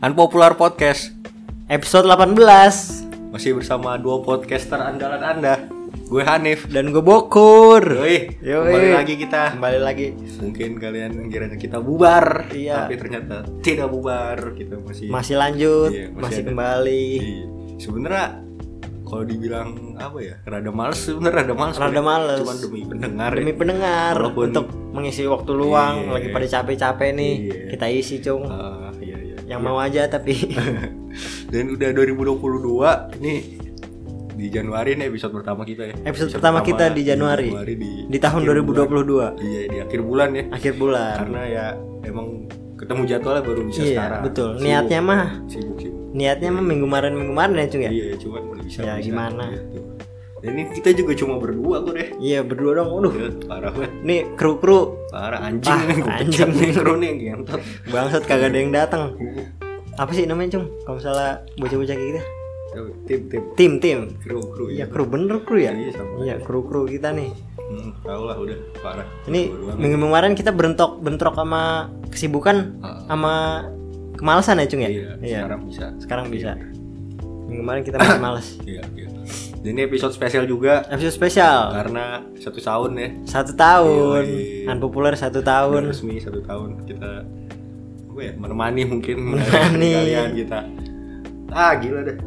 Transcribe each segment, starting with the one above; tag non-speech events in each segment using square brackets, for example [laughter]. Unpopular Podcast Episode 18 Masih bersama dua podcaster andalan anda Gue Hanif Dan gue Bokur Yoi, Yoi. kembali lagi kita Kembali lagi Mungkin kalian kiranya kita bubar Iya. Tapi ternyata tidak bubar Kita masih Masih lanjut Iya, masih Masih ada. kembali Iya. Sebenernya kalau dibilang apa ya Rada males sebenernya rada males Rada Cuman- males. Cuman demi pendengar Demi ya. pendengar Walaupun- Untuk mengisi waktu luang Iya. Lagi pada capek-capek nih Iya. Kita isi cung Ah, iya, iya. [laughs] Yang mau aja tapi Dan udah 2022 Ini di Januari nih episode pertama kita ya Episode pertama kita di Januari. di, Di tahun akhir bulan. 2022 Iya di akhir bulan ya. Akhir bulan Karena ya emang ketemu jadwalnya baru bisa Iya, sekarang. betul. Sibuk. Niatnya mah. sibuk sibuk. Niatnya mah minggu kemarin Minggu kemarin ya cung ya Iya, cuman belum bisa. Ya, bisa. gimana? Gitu. Dan ini kita juga cuma berdua kok deh. Iya berdua dong Waduh Ya, parah banget. Nih kru-kru Parah anjing. Ah, Gua pecat anjing. nih kru nih ngentot. Bangsat kagak ada yang datang Apa sih namanya cung Kalau misalnya bocah-bocah kayak gitu Tim tim Tim-tim Ya, kru kru Iya ya. kru bener kru ya Iya, sama. Iya kru-kru kita nih Hmm, tau lah udah parah. Ini Berdua doang. minggu kemarin kita berentok bentrok sama kesibukan Ah. sama kemalasan ya Cung ya? Iya, sekarang Iya. bisa. Sekarang bisa. Minggu kemarin kita masih malas. Iya, iya. Dan ini episode spesial juga Episode spesial karena satu tahun ya satu tahun, Yoi. unpopular satu Udah tahun. resmi satu tahun kita apa ya menemani [laughs] mungkin Menemani. kalian kita ah gila deh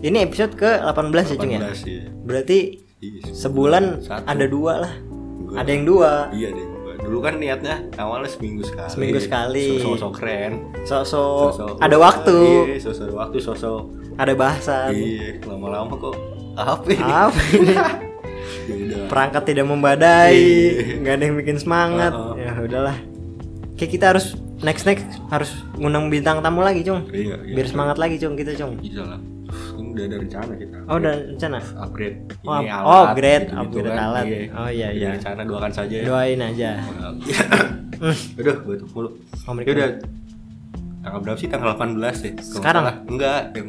Ini episode ke 18 ya Cung ya? 18 ya Berarti Iya, sebulan Satu. ada dua lah. Dua. Ada yang dua. iya deh gua. dulu kan niatnya awalnya seminggu sekali Seminggu sekali. sosok keren Sosok Sosok- ada waktu, iya sosok ada waktu sosok ada bahasan. iya lama-lama kok apa ini Apa [laughs] ini? Ya udah. perangkat tidak membadai, Iya. nggak ada yang bikin semangat. Uh-uh. Ya udahlah. Kayak kita harus next next harus ngundang bintang tamu lagi, Cung. iya, iya. Biar semangat lagi, Cung, kita, Cung. bisa lah Kan udah ada rencana kita Oh, udah rencana. upgrade Oh, ini up- alat oh, upgrade, gitu-gitu upgrade alat. Oh, iya, Udah iya. rencana doakan saja ya Doain aja. Iya. Aduh, batuk mulu. Amerika. Ya udah. Tanggal berapa sih? Tanggal 18 ya? Kalau Sekarang? salah. Enggak, yang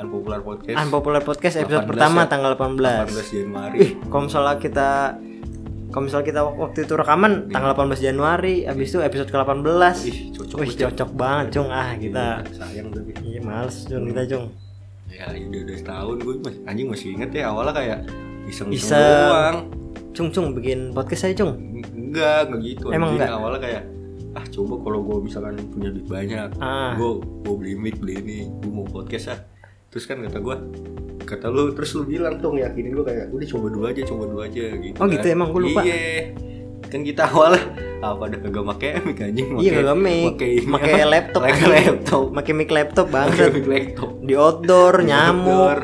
unpopular podcast. Unpopular podcast episode 18 pertama ya. tanggal 18. 18 Januari. Ih, kalau misalnya kita kalau misalnya kita wak- waktu itu rekaman tanggal 18 Januari, habis itu episode ke-18. Iya. Ih, cocok Wih, banget. Iya, cocok banget, Cung. Ah, kita sayang tapi. Iya, males, Cung, kita, Cung. Ya, ya udah udah setahun gue masih anjing masih inget ya awalnya kayak iseng iseng Iseng. doang. Cung, Cung bikin podcast saya, Cung. N- Enggak, enggak gitu. Emang Anjing, enggak? Awalnya kayak ah coba kalau gue misalkan punya duit banyak, Ah. gue gue beli mic beli ini, gue mau podcast ah. Terus kan kata gue, kata lu terus lu bilang tuh yakinin gue kayak udah coba dulu aja, coba dulu aja gitu. Oh, gitu, kan. emang? Gua lupa. Iya. Kan kita awalnya apa ada kagak make mic anjing Iya kagak mic, make ini pakai apa? laptop, Pakai anjing. laptop. pakai mic laptop Pakai banget mic laptop. di outdoor nyamuk. Outdoor.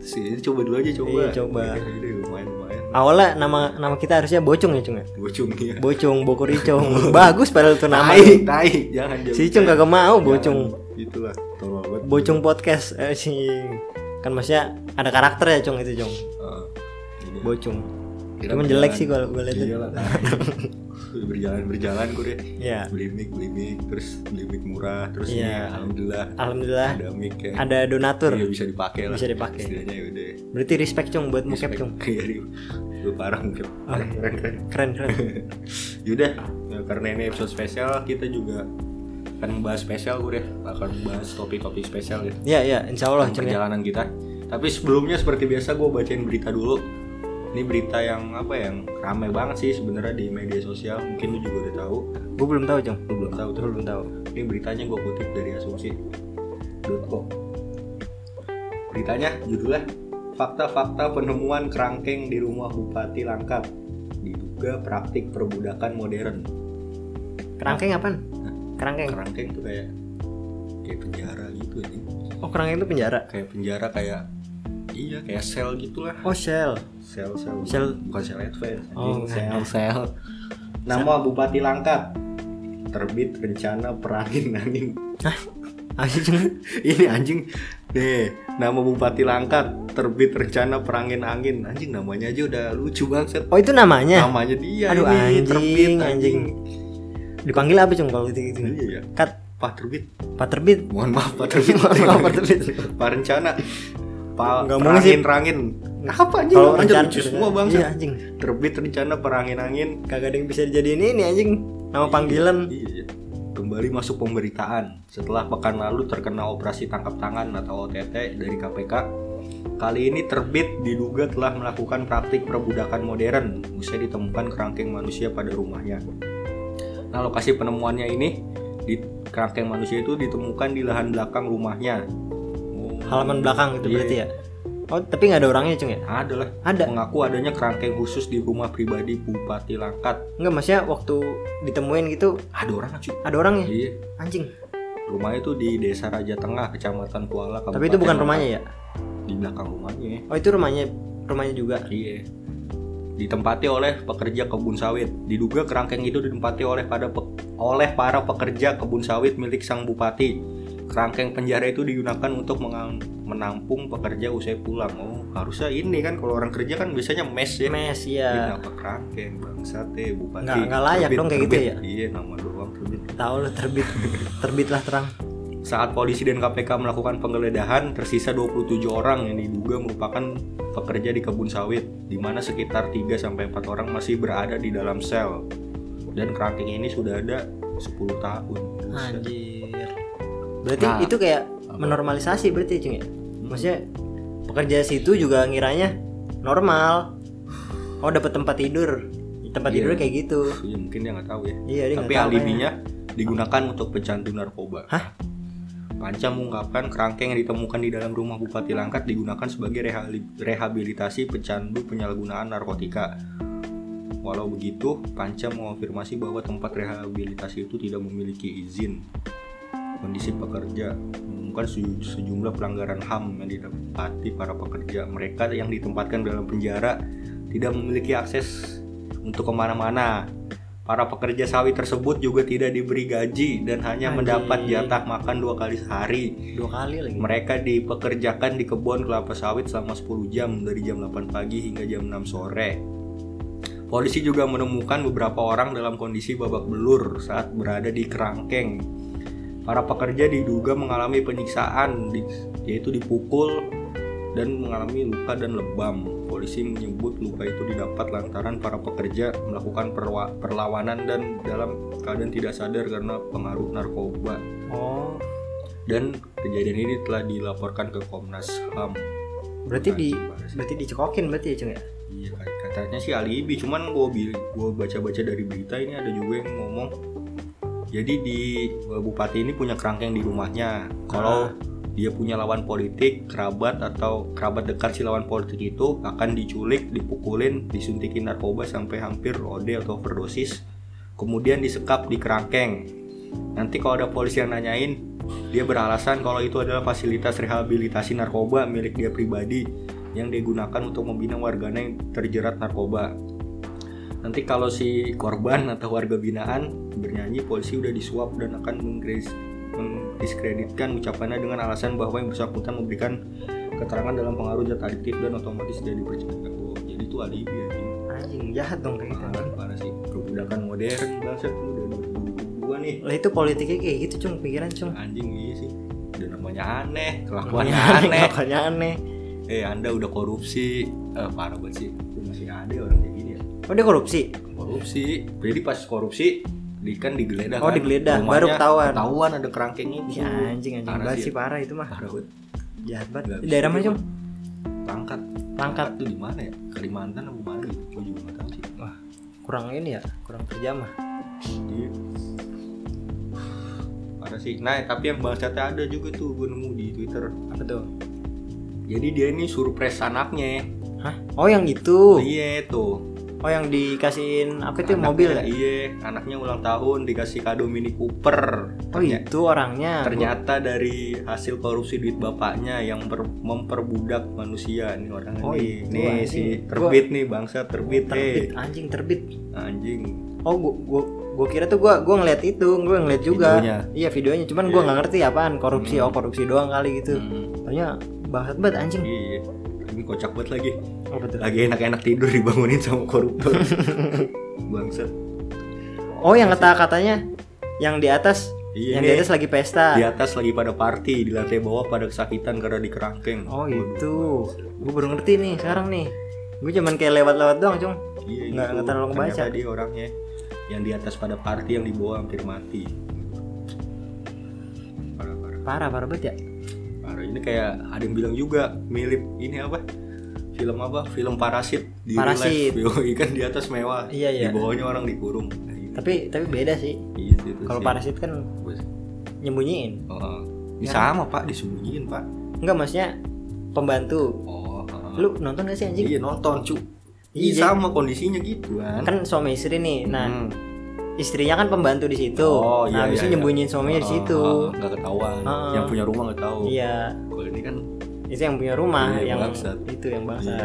Terus ini coba dulu aja coba. Iya, coba. Iya, iya, lumayan lumayan. Awalnya nama nama kita harusnya Bocung ya Cung ya. Gue cung ya. Bocung, Bokur [laughs] Icung. Bagus padahal tuh Tai, nama. Iya. tai, jangan jangan. Si Cung kagak mau Bocung. Jangan. itulah tolol banget Bocung podcast eh, si kan maksudnya ada karakter ya Cung itu Cung. Heeh. Jadi, Bocung. kira Cuman berjalan. jelek sih kalau gue lihat. Iyalah, [laughs] nah. berjalan berjalan gue deh Iya. beli mic beli mic terus beli mic murah terus Iya. ya alhamdulillah Alhamdulillah ada mic ya ada Iya, donatur. bisa dipakai lah Bisa dipakai. setidaknya ya udah Berarti respect Cung buat mukep Cung. Iya, di- gue parah mungkin Oke. [laughs] keren keren Keren keren. yaudah nah, karena ini episode spesial kita juga akan membahas spesial gue deh akan membahas topik-topik spesial ya Iya iya, insya Allah Cung ya. perjalanan kita. Tapi sebelumnya seperti biasa gue bacain berita dulu. Ini berita yang apa ya, yang ramai banget sih sebenarnya di media sosial. Mungkin lu juga udah tahu. Gue belum tahu Cung. Lu belum tahu Gue terus. belum tahu. Ini beritanya gue kutip dari asumsi.com. Beritanya judulnya Fakta-fakta penemuan kerangkeng di rumah Bupati Langkat diduga praktik perbudakan modern. Kerangkeng apaan? Kerangkeng. Kerangkeng tuh kayak kayak penjara gitu ya. Oh, kerangkeng itu penjara. Kayak penjara kayak iya kayak sel gitulah. Oh, shell. sel sel Sel- bukan sel advance anjing. Oh, sel [laughs] shell. nama bupati langkat terbit rencana perangin angin Ah, sih, Cung. [laughs] ini anjing nih nama bupati langkat terbit rencana perangin angin anjing namanya aja udah lucu banget Oh itu namanya? namanya dia Aduh ini, anjing, anjing, Dipanggil apa cung kalau gitu gitu? iya ya Kat pak terbit Pak Terbit. mohon maaf pak terbit [laughs] Mohon maaf, Pak [laughs] Terbit. pak rencana pak Nggak mungkin sih. perangin rangin apa anjing Kalau namanya rencana lucu semua bang Iya anjing. terbit rencana perangin angin Kagak ada yang bisa dijadiin ini anjing. Nama panggilan. Iya, iya. Kembali masuk pemberitaan setelah pekan lalu terkena operasi tangkap tangan atau OTT dari KPK. Kali ini terbit diduga telah melakukan praktik perbudakan modern usai ditemukan kerangkeng manusia pada rumahnya. Nah, lokasi penemuannya ini di kerangkeng manusia itu ditemukan di lahan belakang rumahnya. Oh, halaman belakang gitu Iya. berarti ya oh tapi nggak ada orangnya cung ya Ada lah. ada Mengaku adanya kerangkeng khusus di rumah pribadi Bupati Langkat. nggak maksudnya waktu ditemuin gitu Ada orang cuy. ada orangnya Iya. anjing Rumahnya tuh di Desa Raja Tengah, Kecamatan Kuala. tapi itu bukan Kabupaten rumahnya ya Langkat. Di belakang rumahnya. oh itu rumahnya rumahnya juga Iya. Ditempati oleh pekerja kebun sawit. Diduga kerangkeng itu ditempati oleh pada pe- oleh para pekerja kebun sawit milik sang bupati. Kerangkeng penjara itu digunakan untuk menga- menampung pekerja usai pulang. Oh, harusnya ini kan kalau orang kerja kan biasanya mes ya. mes Ini ya kenapa kerangkeng bangsat eh bupati? Nggak- nggak layak Terbit, dong kayak gitu terbit. ya? Iya nama doang terbit. tahu lu [laughs] terbit terbitlah terang Saat polisi dan KPK melakukan penggeledahan, tersisa 27 orang yang diduga merupakan pekerja di kebun sawit, di mana sekitar 3 sampai 4 orang masih berada di dalam sel. Dan kerangkeng ini sudah ada 10 tahun. Buset. anjir berarti Nah. itu kayak menormalisasi berarti cung ya maksudnya pekerja situ juga ngiranya normal oh dapat tempat tidur tempat Iya. tidur kayak gitu Ya, mungkin dia nggak tahu ya. iya dia nggak Tapi tahu alibinya digunakan untuk pecandu narkoba. Hah? Panca mengungkapkan kerangkeng yang ditemukan di dalam rumah Bupati Langkat digunakan sebagai rehali- rehabilitasi pecandu penyalahgunaan narkotika. Walau begitu, Panca mengonfirmasi bahwa tempat rehabilitasi itu tidak memiliki izin. Kondisi pekerja mengumumkan se- sejumlah pelanggaran HAM yang didapati para pekerja. Mereka yang ditempatkan dalam penjara tidak memiliki akses untuk kemana-mana. Para pekerja sawit tersebut juga tidak diberi gaji dan hanya Anjing. mendapat jatah makan dua kali sehari. ya. dua kali lagi Mereka dipekerjakan di kebun kelapa sawit selama 10 jam dari jam 8 pagi hingga jam 6 sore. Polisi juga menemukan beberapa orang dalam kondisi babak belur saat berada di kerangkeng. Para pekerja diduga mengalami penyiksaan di- yaitu dipukul dan mengalami luka dan lebam. Polisi menyebut luka itu didapat lantaran para pekerja melakukan perwa- perlawanan dan dalam keadaan tidak sadar karena pengaruh narkoba oh dan kejadian ini telah dilaporkan ke Komnas HAM. Nah, berarti di Anjing, berarti dicekokin berarti ya cung ya Iya kat- katanya sih alibi, cuman gue gua baca-baca dari berita ini ada juga yang ngomong. Jadi di eh, bupati ini punya kerangkeng di rumahnya. Kalau dia punya lawan politik, kerabat atau kerabat dekat si lawan politik itu akan diculik, dipukulin, disuntikin narkoba sampai hampir OD atau overdosis, kemudian disekap di kerangkeng. Nanti kalau ada polisi yang nanyain, dia beralasan kalau itu adalah fasilitas rehabilitasi narkoba milik dia pribadi yang digunakan untuk membina warganya yang terjerat narkoba. Nanti kalau si korban atau warga binaan bernyanyi, polisi udah disuap dan akan menggris- mendiskreditkan ucapannya dengan alasan bahwa yang bersangkutan memberikan keterangan dalam pengaruh zat adiktif dan otomatis tidak dipercaya. Oh, jadi itu alibi ya. anjing jahat dong kayak gitu Parah, parah sih. Perbudakan modern banget udah 2022 nih. lah itu politiknya kayak gitu cung pikiran cung Anjing iya sih. Udah namanya aneh, [laughs] kelakuannya aneh. Iya, Kelakuannya aneh Eh, Anda udah korupsi. Eh, parah banget sih. Masih ada orang kayak gini ya. oh dia korupsi korupsi jadi pas korupsi di kan digeledah Oh, kan. digeledah. Baru ketahuan. ketahuan ada kerangkeng ini ya anjing anjing Parah banget sih. sih parah itu mah parah banget jahat Nggak banget bisa daerah mana cung langkat Langkat. tuh di mana ya Kalimantan apa mana gitu gue juga nggak tahu sih kurang ini ya kurang kerja mah Iya. parah sih nah tapi yang bangsatnya ada juga tuh gue nemu di twitter apa tuh jadi dia ini surprise anaknya Hah? Oh yang itu. iya tuh Oh yang dikasihin apa itu Anaknya- mobil ya? iya anaknya ulang tahun dikasih kado mini cooper Oh Ternyata- itu orangnya. ternyata dari hasil korupsi duit bapaknya yang ber- memperbudak manusia nih orang Oh, ini itu nih anjing. si terbit nih bangsa terbit, terbit eh. anjing terbit. anjing Oh gua gua, gua kira tuh gua gua ngeliat itu, gua ngeliat juga. Videonya. Iya videonya, cuman gua Iya. nggak ngerti apaan korupsi. Hmm. Oh korupsi doang kali gitu. Hmm, Taunya bangsat banget anjing. iya ini kocak banget lagi Oh betul. lagi enak-enak tidur dibangunin sama koruptor [laughs] bangsat Oh yang kata katanya yang di atas, iya yang nih, di atas lagi pesta. lagi pada party di lantai bawah pada kesakitan karena di kerangkeng Oh Waduh, itu. Gua baru ngerti nih sekarang nih. Gua cuman kayak lewat-lewat doang cung. iya, Nggak- gitu. nggak terlalu kebaca. Ternyata dia orangnya yang di atas pada party yang di bawah hampir mati parah parah banget ya Parah, ini kayak ada yang bilang juga mirip ini apa? Film apa? Film Parasit di real Parasit. life. Yoi, kan di atas mewah. Iya, Di iya. bawahnya orang dikurung. Nah, ini- tapi tapi beda sih gitu, itu kalau sih. parasit kan Gua sih. nyembunyiin Heeh. Ini Ya. sama pak disembunyiin pak. enggak maksudnya pembantu Oh. heeh. lu nonton gak sih anjing Iya nonton cu. Iya Iya. sama kondisinya gitu kan. kan suami istri nih nah Hmm. istrinya kan pembantu di situ Oh, nah iya, habis iya, itu iya. nyembunyiin suaminya di Ah, situ nggak ketahuan. Ah. Yang punya rumah nggak tahu. iya Kalau ini kan itu yang punya rumah Iya, yang bangsat. itu yang Iya. bangsa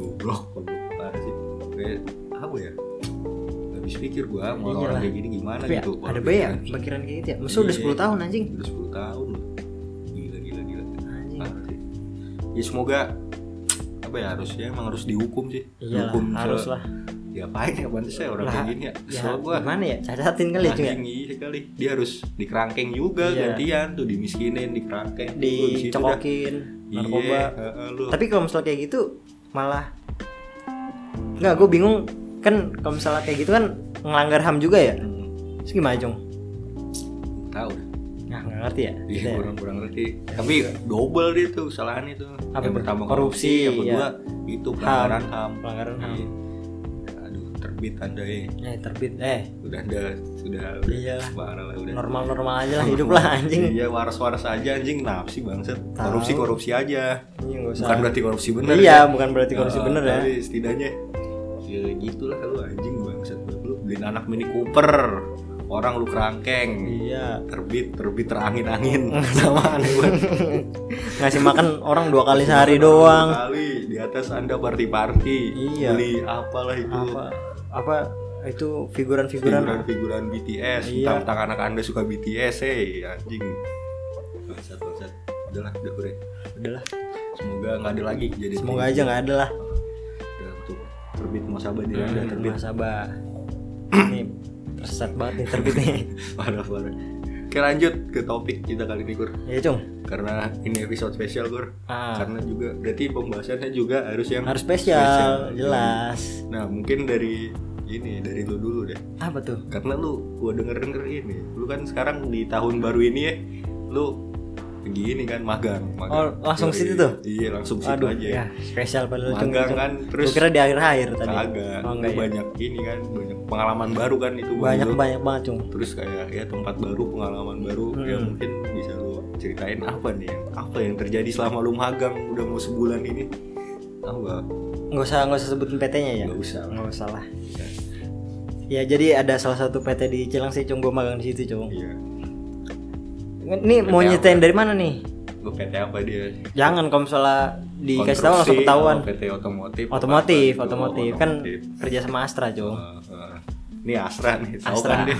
Goblok kalau parasit. Kayak apa ya? Gak habis pikir gua mau orang Iyalah. kayak gini gimana Iya tapi ya, gitu. ada Kalau bayar pikiran. pikiran kayak gitu ya maksudnya udah Iya. 10 tahun anjing Iya. Udah 10 tahun loh. Gila gila gila. Anjing. Parah sih. Ya semoga apa ya harusnya emang harus dihukum sih. Iya Dihukum se- harus lah. Diapain ya pantas saya orang Lah, kayak gini ya. Ya, Soal gua gimana ya? Cacatin kali ya, Cung ya. anjing, iya kali. Dia harus dikerangkeng juga Iya. gantian tuh dimiskinin, dikerangkeng. Lu di situ dah. Dicokokin narkoba. Iya, heeh, lu. Tapi kalau misalnya kayak gitu malah Enggak, gue bingung kan kalau misalnya kayak gitu kan ngelanggar HAM juga ya. Hmm, Terus gimana, Cung? tahu deh. Nah, nggak ngerti ya. Iya, Gitu ya. iya. kurang-kurang ngerti. Tapi double dia tuh kesalahan itu. Apa yang itu? pertama Korupsi, korupsi, yang kedua itu pelanggaran HAM. Pelanggaran HAM. Iya. Aduh, terbit Anda ya. Eh, terbit. Eh, Udah ada, sudah udah Iya. parah lah udah. normal-normal aja lah hidup lah anjing. Iya, waras-waras aja anjing, nafsi bangset. Tahu. Korupsi-korupsi aja. Iya, nggak usah. Bukan berarti korupsi bener. Iya, ya. bukan berarti korupsi Ah, bener ya. Tapi setidaknya ya gitulah lu anjing bangset lu beliin anak Mini Cooper. Orang lu kerangkeng. Iya. terbit terbit terangin [laughs] angin sama aneh banget Ngasih makan orang dua kali sehari doang. kali di atas anda party party Iya. beli apalah itu apa apa itu figuran-figuran figuran figuran BTS Iya. iya. tentang anak anda suka BTS eh anjing bangsat bangsat udahlah udah kure udahlah semoga nggak ada lagi jadi semoga aja nggak ada lah untuk terbit muasabah Iya, di anda Iya, terbit [laughs] Muhasabah. nih tersesat banget nih terbit [laughs] nih parah parah Oke lanjut ke topik kita kali ini Kur ya cung Karena ini episode spesial Kur Ah. Karena juga berarti pembahasannya juga harus yang harus spesial jelas Nah mungkin dari ini dari lu dulu deh apa tuh Karena lu gua denger denger ini Lu kan sekarang di tahun baru ini ya Lu begini kan magang, magang. Oh, langsung Yoi. situ tuh? Iya langsung situ aduh aja ya spesial padahal cung Magang Cung. kan terus Gua kira di akhir-akhir tadi kagak Oh, Lu enggak ya. banyak ini kan banyak pengalaman baru kan itu buat banyak lu. banyak banget cung Terus kayak ya tempat baru pengalaman baru ya Hmm. mungkin bisa lu ceritain apa nih yang- Apa yang terjadi selama lu magang udah mau sebulan ini Apa? nggak usah nggak usah sebutin PT-nya ya Nggak usah lah. nggak usah lah ya jadi ada salah satu PT di Cilang sih cung gue magang di situ cung Iya ini mau PT apa? nyetain dari mana nih Lu PT apa dia? Jangan kalau misalnya dikasih tahu Konstruksi, langsung ketahuan. oh, PT otomotif. Otomotif, apa-apa gitu, otomotif kan kerja sama Astra, Jong. Heeh, heeh. Eh, Ini Astra nih, tahu Astra. kan dia.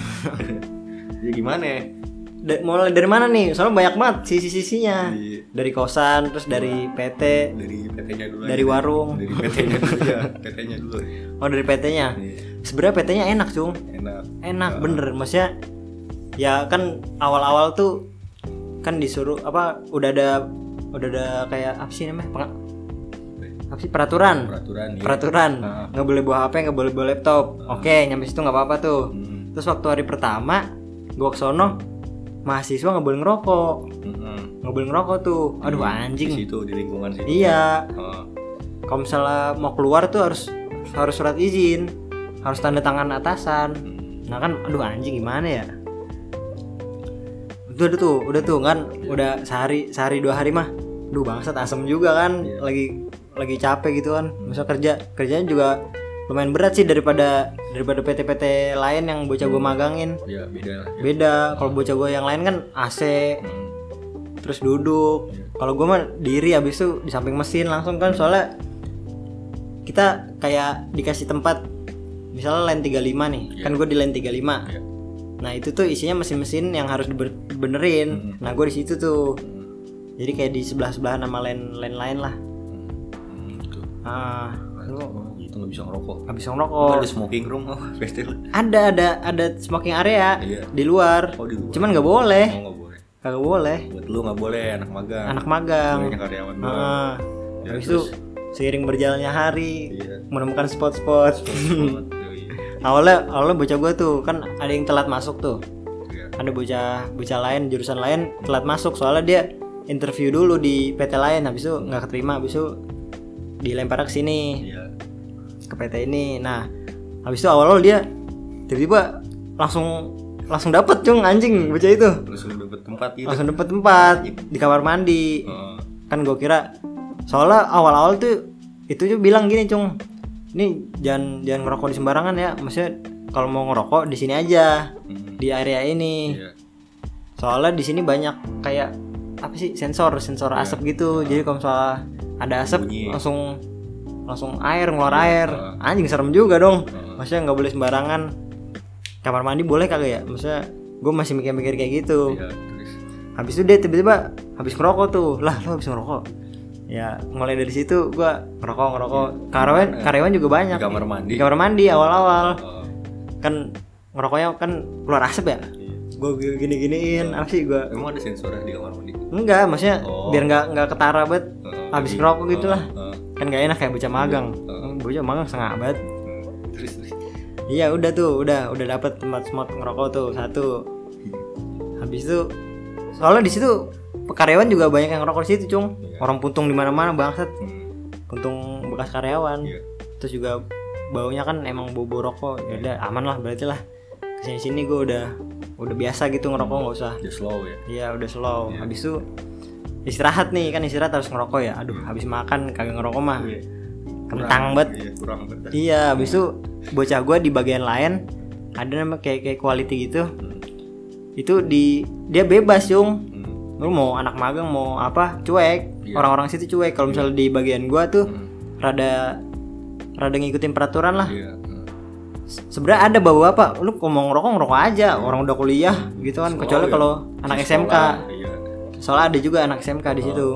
Jadi gimana [laughs] ya? Da- mulai dari mana nih? Soalnya banyak banget sisi-sisinya. Di- Dari kosan, terus dari Iya. PT, Dari PT-nya dulu. dari aja. warung. Dari PT-nya dulu [laughs] ya, PT-nya dulu. Oh, dari PT-nya. Nih, Sebenarnya PT-nya enak, Cung. enak. Enak bener, maksudnya ya kan awal-awal tuh kan disuruh apa udah ada udah ada kayak apa sih namanya? Peng- apa sih peraturan? Peraturan nih. Peraturan. Ah. Nggak boleh bawa HP, nggak boleh bawa laptop. Oke, nyampe situ nggak apa-apa tuh. Hmm, Terus waktu hari pertama gua ke sono mahasiswa nggak boleh ngerokok, hmm. nggak boleh ngerokok tuh. Aduh Iya, Di anjing. situ di lingkungan situ. Oh, Iya, Heeh. kalau misalnya mau keluar tuh harus harus surat izin, harus tanda tangan atasan. Hmm. Nah kan, aduh anjing gimana ya? Udah, udah tuh, udah tuh kan, udah sehari sehari dua hari mah, duh bangsat asem juga kan, Iya. lagi lagi capek gitu kan, misal kerja kerjanya juga lumayan berat sih daripada daripada PT-PT lain yang bocah gua magangin. Ya beda lah. ya. beda kalau bocah gue yang lain kan AC Hmm. terus duduk Iya. kalau gue mah diri abis itu di samping mesin langsung kan soalnya kita kayak dikasih tempat misalnya line 35 nih kan gue di line 35 Iya. nah itu tuh isinya mesin-mesin yang harus dibenerin Hmm. nah gue di situ tuh jadi kayak di sebelah sebelah nama line line lain lah Hmm, gitu. ah lu Oh, gitu nggak bisa ngerokok. abis Oh. ngerokok Ada smoking room, oh, [laughs] pasti lah. ada ada ada smoking area Iya. di luar Oh, di luar. cuman nggak boleh Oh, nggak boleh. kagak boleh Buat lu nggak boleh anak magang. anak magang Banyak Iya, karyawan doang. Ah, Ya, habis itu terus? seiring berjalannya hari Iya. menemukan spot-spot. [laughs] Banget, yoi. awalnya awalnya bocah gue tuh kan ada yang telat masuk tuh. Iya. ada bocah bocah lain jurusan lain telat masuk soalnya dia interview dulu di PT lain habis itu nggak keterima habis itu dilempar ke sini Iya. ke PT ini nah habis itu awal-awal dia tiba-tiba langsung langsung dapet cung anjing bocah itu Langsung dapet tempat gitu. Oh, iya, langsung dapet tempat di kamar mandi Heeh. kan gue kira soalnya awal-awal tuh itu juga bilang gini cung ini jangan jangan ngerokok di sembarangan ya maksudnya kalau mau ngerokok di sini aja Hmm. di area ini Iya. soalnya di sini banyak kayak apa sih sensor sensor asap gitu jadi kalau misalnya ada asap Iya. Bunyi. Iya. langsung langsung air ngeluar air Heeh. anjing serem juga dong Heeh. maksudnya nggak boleh sembarangan kamar mandi boleh kagak ya maksudnya gue masih mikir-mikir kayak gitu Iya, terus. habis itu dia tiba-tiba habis ngerokok tuh lah lo habis ngerokok ya mulai dari situ gua ngerokok ngerokok karyawan karyawan juga banyak Iya. Di kamar mandi. Oh, di kamar mandi awal-awal Heeh. kan ngerokoknya kan keluar asap ya Iya. gua gini-giniin apa sih gua Emang ada sensornya di kamar mandi? enggak maksudnya Iya. Oh. biar nggak nggak ketara banget Heeh. habis Jadi, ngerokok gitu heeh, lah heeh. kan nggak enak kayak bocah magang Iya. Hmm, Heeh. bocah magang setengah abad Hmm. Terus terus. iya udah tuh udah udah dapet tempat spot ngerokok tuh satu habis itu soalnya di situ karyawan juga banyak yang ngerokok di situ cung Iya. orang puntung di mana-mana bangsat Hmm. puntung bekas karyawan Iya. terus juga baunya kan emang bobo rokok ya udah aman lah berarti lah kesini sini gue udah udah biasa gitu ngerokok nggak usah Dia slow ya. ya udah slow habis itu istirahat nih kan istirahat harus ngerokok ya aduh habis makan kagak ngerokok mah Iya. kentang Ah, banget Iya, kurang betah. Iya, habis itu bocah gue di bagian lain ada nama kayak kayak quality gitu. Itu di dia bebas, Yung. Hmm. Lu mau anak magang mau apa, cuek. Iya. Orang-orang situ cuek. Kalau misalnya di bagian gua tuh hmm. rada rada ngikutin peraturan lah. Iya. Hmm. Se- Sebenarnya ada bapak-bapak, lu kalau mau ngerokok ngerokok aja, orang udah kuliah gitu kan. Slow Kecuali ya. kalau anak SMK. Sekolah, Oh. Iya. Soalnya ada juga anak SMK di situ.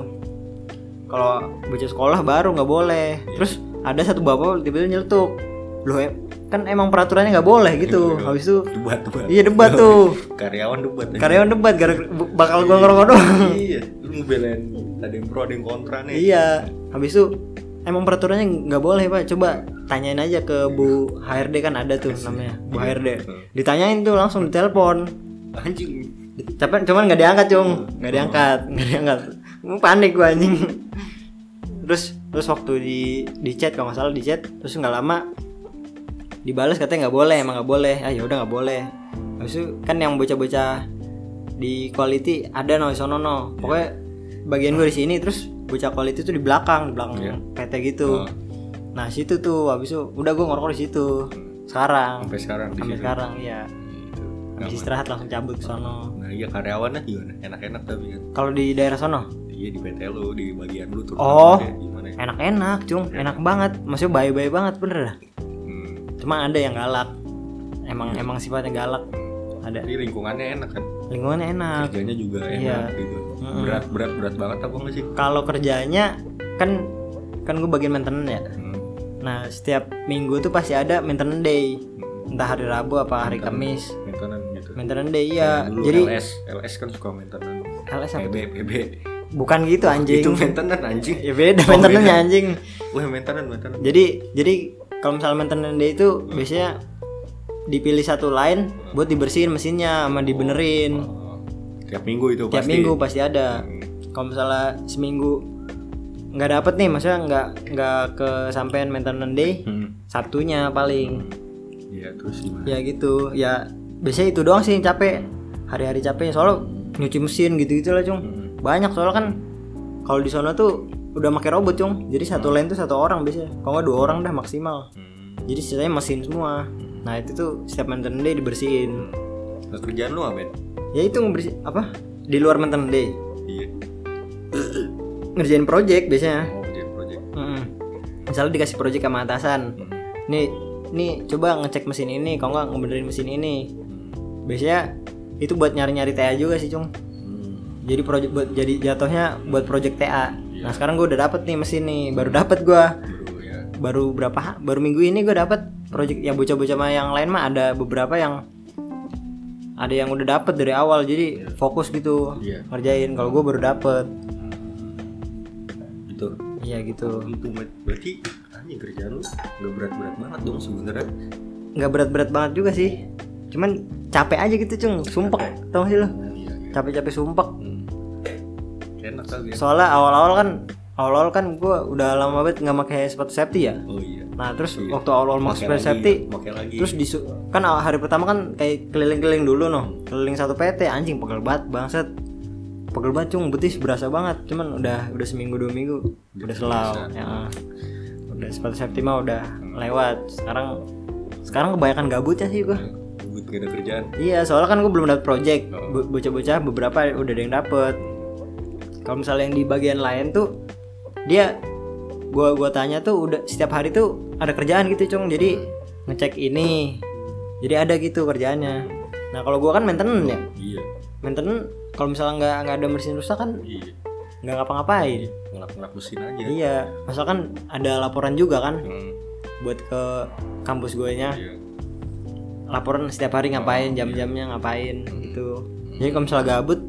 Kalau bocah sekolah baru nggak boleh. Iya. Terus ada satu bapak tiba-tiba nyeletuk. Loh, em- kan emang peraturannya nggak boleh gitu. Iya. Habis itu Debat debat. iya debat tuh. Karyawan debat. aja. Karyawan debat gara bu- bakal gua ngerokok doang. Iya. Lu ngebelain ada yang pro ada yang kontra nih. Iya. Habis itu emang peraturannya nggak boleh, Pak. Coba tanyain aja ke Bu HRD kan ada tuh namanya. Bu HRD. Ditanyain tuh langsung ditelepon. Anjing. Tapi cuman nggak diangkat cung, nggak diangkat, nggak diangkat. Gua panik gua anjing. Terus terus waktu di di chat kalau nggak salah di chat, terus nggak lama dibalas katanya nggak boleh, emang nggak boleh. Ah ya udah nggak boleh. Habis itu kan yang bocah-bocah di quality ada no sono no. Pokoknya bagian gue di sini terus bocah quality tuh di belakang, di belakang Iya. PT gitu. Ah. Nah, situ tuh habis itu udah gue ngerokok di situ. Sekarang Sampai sekarang di sampai situ. sekarang iya. Gitu. Habis istirahat langsung cabut ke sono. Nah iya karyawannya gimana? Enak-enak tapi kan. Kalau di daerah sono Iya di PT lu di bagian lu tuh. Oh. Gimana ya? enak-enak, cung, enak banget. Maksudnya bayi-bayi banget bener dah. Hmm. Cuma ada yang galak. Emang emang sifatnya galak. Ada Jadi lingkungannya enak kan. lingkungannya enak. Kerjanya juga enak Iya. gitu. Berat berat berat banget apa enggak sih? Kalau kerjanya kan kan gue bagian maintenance ya. Hmm. Nah setiap minggu tuh pasti ada maintenance day. Entah hari Rabu apa hari Kamis. Maintenance gitu. Maintenance day ya. Dulu Jadi LS, LS kan suka maintenance. LS apa? PB, PB. bukan gitu anjing. Itu Oh, maintenance anjing. [laughs] Ya beda maintenance anjing. Wah, maintenance, maintenance. Jadi jadi kalau misalnya maintenance day itu biasanya dipilih satu line buat dibersihin mesinnya sama dibenerin. Oh, tiap minggu itu tiap pasti. minggu pasti ada Hmm. kalau misalnya seminggu nggak dapet nih maksudnya nggak nggak kesampean maintenance day Hmm. sabtunya paling Iya, terus gimana? ya gitu ya biasanya itu doang sih yang capek hari-hari capek soalnya nyuci mesin gitu gitu lah cung Hmm. banyak soalnya kan kalau di sana tuh udah pakai robot cung jadi satu lane tuh satu orang biasanya kalau nggak dua orang dah maksimal Hmm. jadi sisanya mesin semua nah itu tuh setiap maintenance day dibersihin Nah, kerjaan lu apa, Ben? ya itu ngebersih apa di luar maintenance day Iya. ngerjain project biasanya Oh, kerjaan project. Mm-mm. Misalnya dikasih proyek sama atasan, Hmm. nih nih coba ngecek mesin ini, kalau nggak ngebenerin mesin ini. Biasanya itu buat nyari-nyari TA juga sih cung. Hmm. Jadi proyek buat jadi jatuhnya buat proyek TA. Iya. Nah sekarang gue udah dapet nih mesin nih, baru dapet gue, Baru ya. baru berapa? ha- Baru minggu ini gue dapet proyek yang bocah-bocah sama yang lain mah ada beberapa yang ada yang udah dapet dari awal jadi fokus gitu Iya. ngerjain. Kalau gue baru dapet, Gitu. iya gitu. Itu Mat. berarti anjing kerjaan lu nggak berat-berat banget dong sebenarnya. nggak berat-berat banget juga sih cuman capek aja gitu cung sumpek Capek. tau gak sih lo Iya, iya. capek-capek sumpek Hmm. Enak kali ya. soalnya awal-awal kan awal-awal kan gue udah lama banget nggak pakai sepatu safety ya Oh iya. nah terus Iya. waktu awal-awal mau Pakai sepatu lagi, Iya. safety pakai lagi. terus disu kan aw- hari pertama kan kayak keliling-keliling dulu noh keliling satu PT anjing pegel banget bangset pegel banget cung betis berasa banget cuman udah udah seminggu dua minggu udah selau ya. udah sepatu safety mah udah lewat sekarang sekarang kebanyakan gabutnya sih gue gue gak ada kerjaan. Iya, soalnya kan gue belum dapat project. Oh. Bo- Bocah-bocah beberapa udah ada yang dapet. Kalau misalnya yang di bagian lain tuh dia gua gua tanya tuh udah setiap hari tuh ada kerjaan gitu, Cung. Jadi ngecek ini. Jadi ada gitu kerjaannya. Nah, kalau gua kan maintenance ya. Iya. Maintenance kalau misalnya nggak nggak ada mesin rusak kan Iya. nggak ngapa-ngapain. Ngelap-ngelap mesin aja. Iya, misalkan ada laporan juga kan Hmm, buat ke kampus gue nya iya. laporan setiap hari ngapain jam-jamnya ngapain gitu jadi kalau misalnya gabut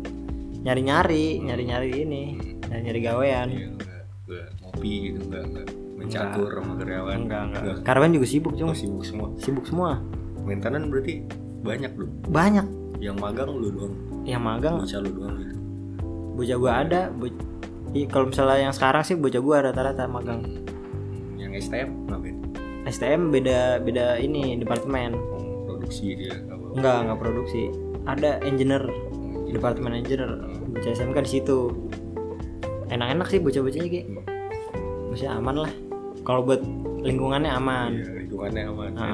nyari-nyari nyari-nyari ini nyari-nyari gawean Iya, enggak, enggak ngopi gitu, enggak, enggak mencatur sama karyawan. enggak enggak karyawan juga sibuk Enggak, Oh, iya. cuma sibuk semua. sibuk semua Maintenance berarti banyak dong. banyak Yang magang lu doang, yang magang bocah lu doang gitu. bocah gua ada bo- Ih, kalau misalnya yang sekarang sih bocah gua rata-rata magang Hmm, Yang STM ngapain? STM beda beda ini departemen Hmm, Produksi dia apa? enggak enggak produksi ada engineer departemen engineer bocah SMK di situ enak-enak sih bocah-bocahnya kayak Hmm. masih aman lah kalau buat lingkungannya aman Iya, lingkungannya aman, Ah,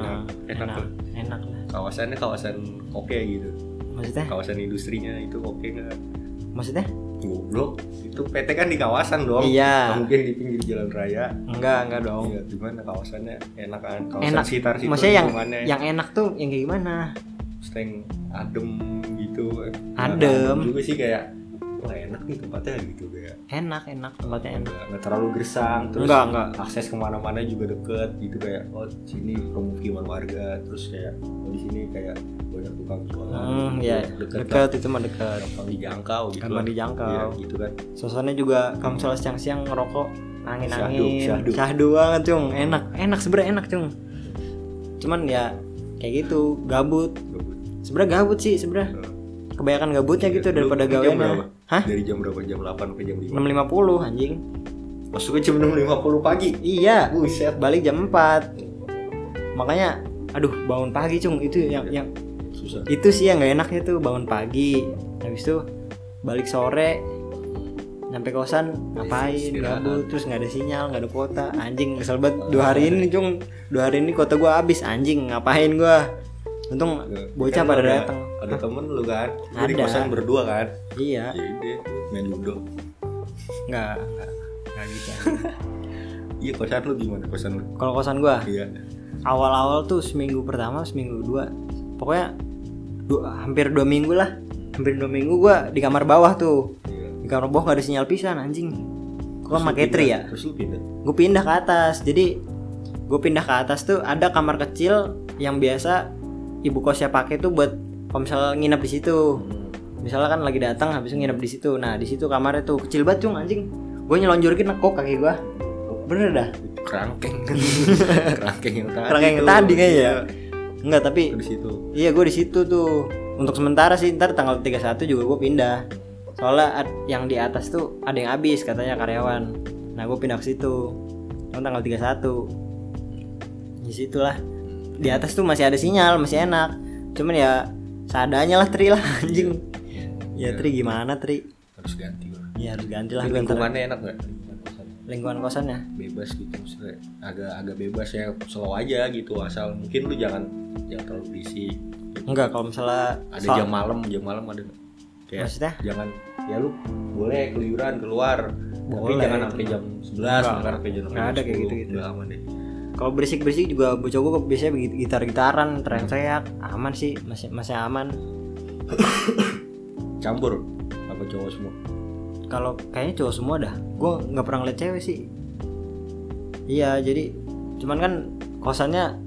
enak, enak, enak, tuh. enak lah Kawasannya kawasan oke gitu. maksudnya Kawasan industrinya itu oke nggak? maksudnya Goblok, itu PT kan di kawasan dong. Iya. Nggak mungkin di pinggir jalan raya. enggak enggak dong Iya, gimana kawasannya enak kan? Kawasan enak sekitar situ maksudnya yang lingkungannya. yang enak tuh yang kayak gimana steng adem gitu eh, Adem. nggak juga sih kayak wah enak nih tempatnya gitu kayak enak enak tempatnya enak nggak nggak terlalu gersang terus Nggak, nggak. akses kemana-mana juga deket gitu kayak oh sini pemukiman warga terus kayak oh, di sini kayak banyak tukang jualan hmm, gitu, ya deket, dekat lah, itu mah dekat gampang dijangkau gitu Gampang lah. dijangkau. Iya, gitu kan suasananya juga kalau misalnya siang-siang ngerokok angin angin Syahdu, syahdu. banget cung enak enak sebenernya enak cung cuman ya kayak gitu gabut gabut sebenernya gabut sih sebenernya kebanyakan gabutnya Hmm. Iya, gitu lu- daripada lu jam berapa? gaweannya hah dari jam berapa jam 8 sampai jam 5 6.50 anjing masuknya jam 6.50 pagi iya buset balik jam 4 makanya aduh bangun pagi cung itu yang yang susah itu sih yang nggak enaknya tuh bangun pagi habis itu balik sore nyampe kosan ngapain Istirahat. gabut terus nggak ada sinyal nggak ada kuota anjing kesel banget dua hari ini cung dua hari ini kuota gua habis anjing ngapain gua untung bocah Kan pada ada- datang ada temen lu kan dari Ada. kosan berdua kan iya jadi dia main ludo nggak nggak nggak gitu Iya kosan lu gimana kosan lu? kalau kosan gua Iya. awal-awal tuh seminggu pertama seminggu dua pokoknya dua, hampir dua minggu lah hampir dua minggu gua di kamar bawah tuh Iya. di kamar bawah gak ada sinyal pisan anjing gua kan Terus lu pakai tri pindah- ya Terus lu pindah. gue pindah ke atas jadi gue pindah ke atas tuh ada kamar kecil yang biasa ibu kosnya pakai tuh buat kalau misalnya nginep di situ misalnya kan lagi datang habis itu nginep di situ nah di situ kamarnya tuh kecil banget cung anjing gue nyelonjorin nekok kaki gua bener dah [laughs] Kerangkeng. Kerangkeng yang tadi. Kerangkeng Nah, yang tuh. tadi kayaknya ya. Iya. enggak tapi Di situ. Iya gue di situ tuh. Untuk sementara sih ntar tanggal 31 juga gue pindah. Soalnya ad- yang di atas tuh ada yang habis katanya karyawan. Nah gue pindah ke situ. Cuma tanggal 31. Di situlah. Di atas tuh masih ada sinyal, masih enak. Cuman ya seadanya lah Tri lah [laughs] anjing. Ya Tri gimana Tri? Iya, Harus ganti lah. Ya harus ganti lah Tapi gua ntar. lingkungannya enak nggak? Lingkungan kosan. lingkungan kosannya. Bebas gitu maksudnya. Agak agak bebas ya. Slow aja gitu asal mungkin lu jangan jangan terlalu berisik. Enggak kalau misalnya Ada soal- jam Iya. malam, jam malam ada nggak? Kayak Maksudnya? jangan ya lu boleh keluyuran keluar tapi Boleh. jangan sampai jam 11 Nggak, jangan sampai jam nggak ada kayak 10. gitu-gitu. nggak aman deh Kalau berisik-berisik juga bocah gue biasanya begitu gitar-gitaran, teriak-teriak, aman sih, masih masih aman. campur apa cowok semua Kalau kayaknya cowok semua dah. Gue nggak pernah ngeliat cewek sih. Iya, jadi cuman kan kosannya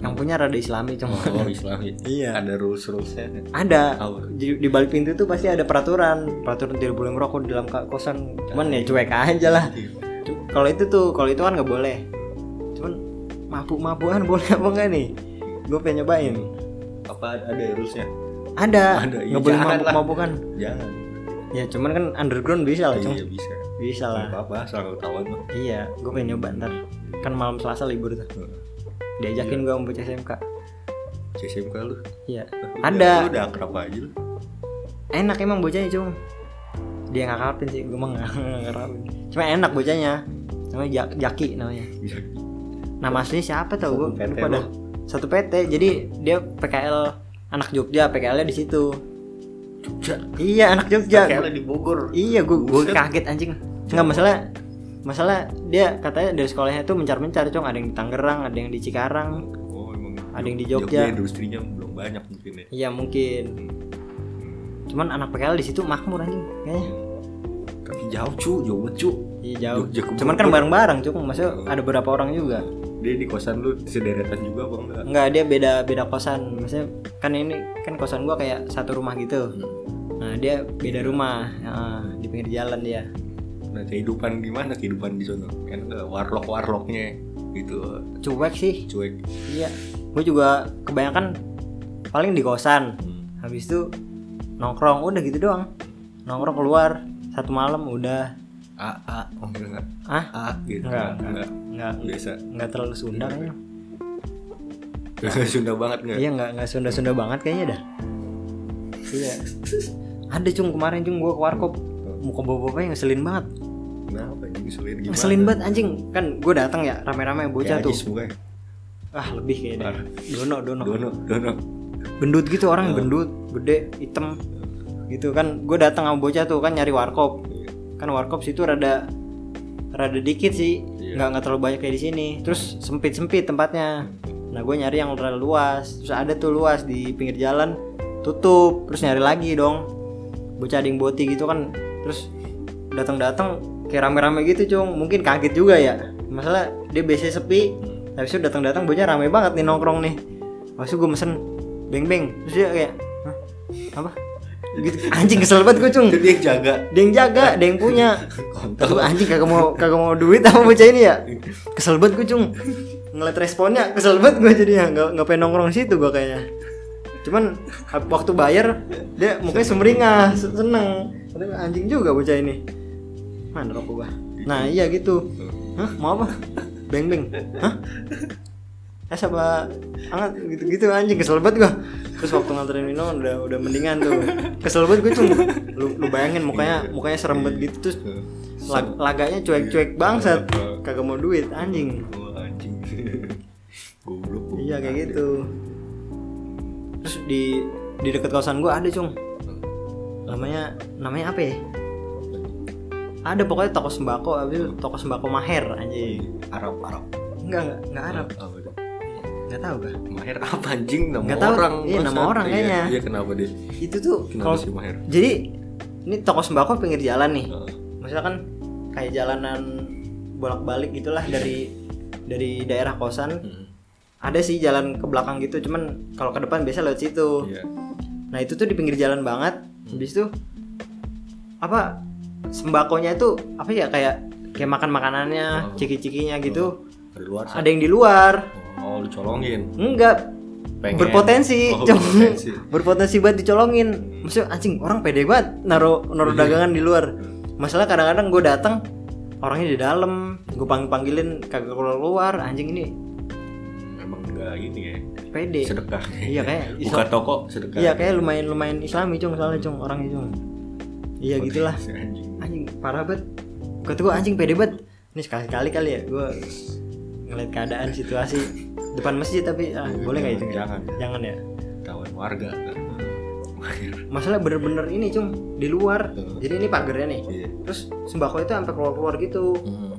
yang punya rada Islami cuma. Oh Islami. Iya. Ada rules rulesnya. [laughs] Ada Apa? di, di balik pintu tuh pasti ada peraturan, peraturan tidak boleh merokok di dalam ka- kosan. Cuman ya cuek aja lah. Cu- Kalau itu tuh, kalau itu kan nggak boleh. [laughs] Cuman mabuk-mabukan boleh apa enggak nih? Gue pengen nyobain. apa ada rulesnya ada, Ada, iya, nggak boleh jangan lah. mabuk-mabukan jangan ya cuman kan underground bisa lah cung iya bisa bisa nggak lah apa-apa asal ketahuan mah iya gue pengen nyoba ntar kan malam selasa libur tuh Hmm. Iya. diajakin gue sama bocah SMK CSMK lu iya Udah- Ada. lu udah akrab aja lu enak emang bocahnya cung dia nggak ngarapin sih gue emang nggak ngarapin cuma enak bocahnya namanya Jak- Jaki namanya bisa nama asli siapa tau gue Iya. Satu PT lupa dah satu PT jadi dia PKL anak Jogja PKL nya di situ Jogja iya anak Jogja kayaknya di Bogor iya gue gue Buset. kaget anjing nggak masalah masalah dia katanya dari sekolahnya tuh mencar mencar cong ada yang di Tangerang ada yang di Cikarang oh emang Ada yang di Jogja. industrinya belum banyak mungkin ya iya mungkin cuman anak PKL di situ makmur anjing kayaknya tapi jauh cu jauh banget cu iya jauh Jogja ke cuman kan Bogor. bareng bareng cong maksudnya Oh. ada berapa orang juga dia di kosan lu sederetan juga apa enggak nggak dia beda beda kosan maksudnya kan ini kan kosan gua kayak satu rumah gitu Hmm. Nah dia beda rumah Heeh, di pinggir jalan dia. nah kehidupan gimana kehidupan di sana kan warlock warlocknya gitu Cuek sih. cuek Iya. Gue juga kebanyakan paling di kosan. Hmm. Habis itu nongkrong udah gitu doang. Nongkrong keluar satu malam udah. a a oh enggak Ah a gitu Enggak, enggak nggak biasa [laughs] nggak terlalu ya. Sunda kayaknya. Sunda banget enggak Iya nggak nggak Sunda Sunda banget kayaknya dah. Iya. Ada cung kemarin cung gue ke warkop muka bapak-bapaknya ngeselin banget kenapa ini ngeselin gimana ngeselin banget anjing kan gue datang ya rame-rame bocah Kayak tuh Ajis mukanya. ah lebih kayaknya Parah. dono dono dono dono [laughs] gendut gitu orang gendut gede hitam gitu kan gue datang sama bocah tuh kan nyari warkop kan warkop situ rada rada dikit sih Iya. nggak nggak terlalu banyak kayak di sini terus sempit sempit tempatnya nah gue nyari yang rada luas terus ada tuh luas di pinggir jalan tutup terus nyari lagi dong bocah ding boti gitu kan terus datang datang kayak rame rame gitu cung mungkin kaget juga ya masalah dia biasanya sepi habis itu datang datang bocah rame banget nih nongkrong nih Habis itu gue mesen beng beng terus dia kayak "Hah? apa gitu anjing kesel banget gue cung itu dia yang jaga ada yang jaga ada yang punya kontol Aduh anjing kagak mau kagak mau duit sama bocah ini ya kesel banget gue cung ngeliat responnya kesel banget gue jadinya nggak nggak pengen nongkrong di situ gue kayaknya cuman hab- waktu bayar dia mukanya sumringah se- seneng Tapi anjing juga bocah ini mana rokok gua nah iya gitu hah mau apa beng beng hah es apa hangat gitu gitu anjing kesel banget gua terus waktu nganterin Wino udah udah mendingan tuh kesel banget gue cung lu, lu bayangin mukanya mukanya serem banget gitu terus lag- laganya cuek-cuek bangsat kagak mau duit anjing Wah, "Oh, anjing [laughs] goblok goblok. iya kayak gitu terus di di dekat kawasan gua ada cung namanya namanya apa ya ada pokoknya toko sembako habis itu toko sembako maher anjing Iya, Arab Arab enggak enggak enggak Arab Apa tuh? enggak tahu gak Maher apa anjing nama Nggak tahu. orang Iya, nama bangsat. orang Iya, kayaknya. iya kenapa dia itu tuh kenapa kalau sih Maher Ah, jadi ini toko sembako pinggir jalan nih Heeh. maksudnya kan kayak jalanan bolak-balik gitulah dari dari daerah kosan Hmm. ada sih jalan ke belakang gitu cuman kalau ke depan biasa lewat situ Iya. Nah itu tuh di pinggir jalan banget. Habis itu apa sembakonya itu apa ya kayak kayak makan Oh. makanannya, ciki-cikinya gitu. dari luar Ada yang di luar. oh lu colongin Enggak Pengen. berpotensi, Oh, [laughs] Cong. berpotensi. berpotensi. buat dicolongin. Maksudnya anjing orang pede banget naruh naruh Iya. dagangan di luar. Masalah kadang-kadang gue datang orangnya di dalam, gue panggil panggilin kagak keluar keluar, anjing ini emang enggak ini ya pede. [laughs] sedekah Iya kayak buka toko sedekah Iya kayak lumayan lumayan Islami cung soalnya Hmm. cung orangnya cung. Iya Potensi, gitulah. anjing. Anjing parah banget. Kata gue anjing pede banget. Ini sekali kali kali ya gue ngeliat keadaan situasi depan masjid tapi ah, boleh nggak itu? Hmm. Jangan. Jangan ya. tawan warga kan. Maher Masalah bener-bener ini cung di luar. Jadi ini pagernya nih. iya Terus sembako itu sampai keluar-keluar gitu. Hmm.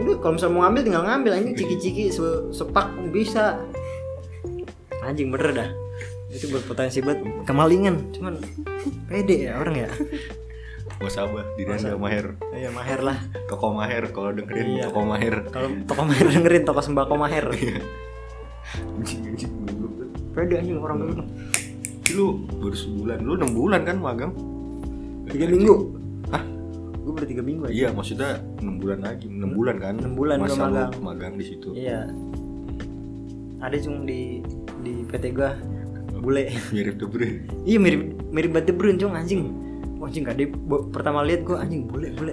Udah kalau misalnya mau ngambil tinggal ngambil anjing ciki-ciki se- sepak bisa. Anjing bener dah. Itu berpotensi buat kemalingan. Cuman pede ya orang ya. wasabah di danda Maher Iya maher lah. toko Maher kalau dengerin Iya. toko Maher Kalau toko maher dengerin toko sembako maher. anjing anjing goblok. Pede anjing orang begitu. [laughs] lu baru sebulan lu enam bulan kan magang Tiga minggu. Hah? Gue baru tiga minggu aja. iya maksudnya enam bulan lagi enam bulan kan Enam bulan gua masa magang. lu magang di situ Iya. Ada cung di di PT gua bule mirip De Bruyne. iya mirip mirip banget De Bruyne cung anjing Wah, anjing gak deh Bo- pertama lihat gue anjing bule bule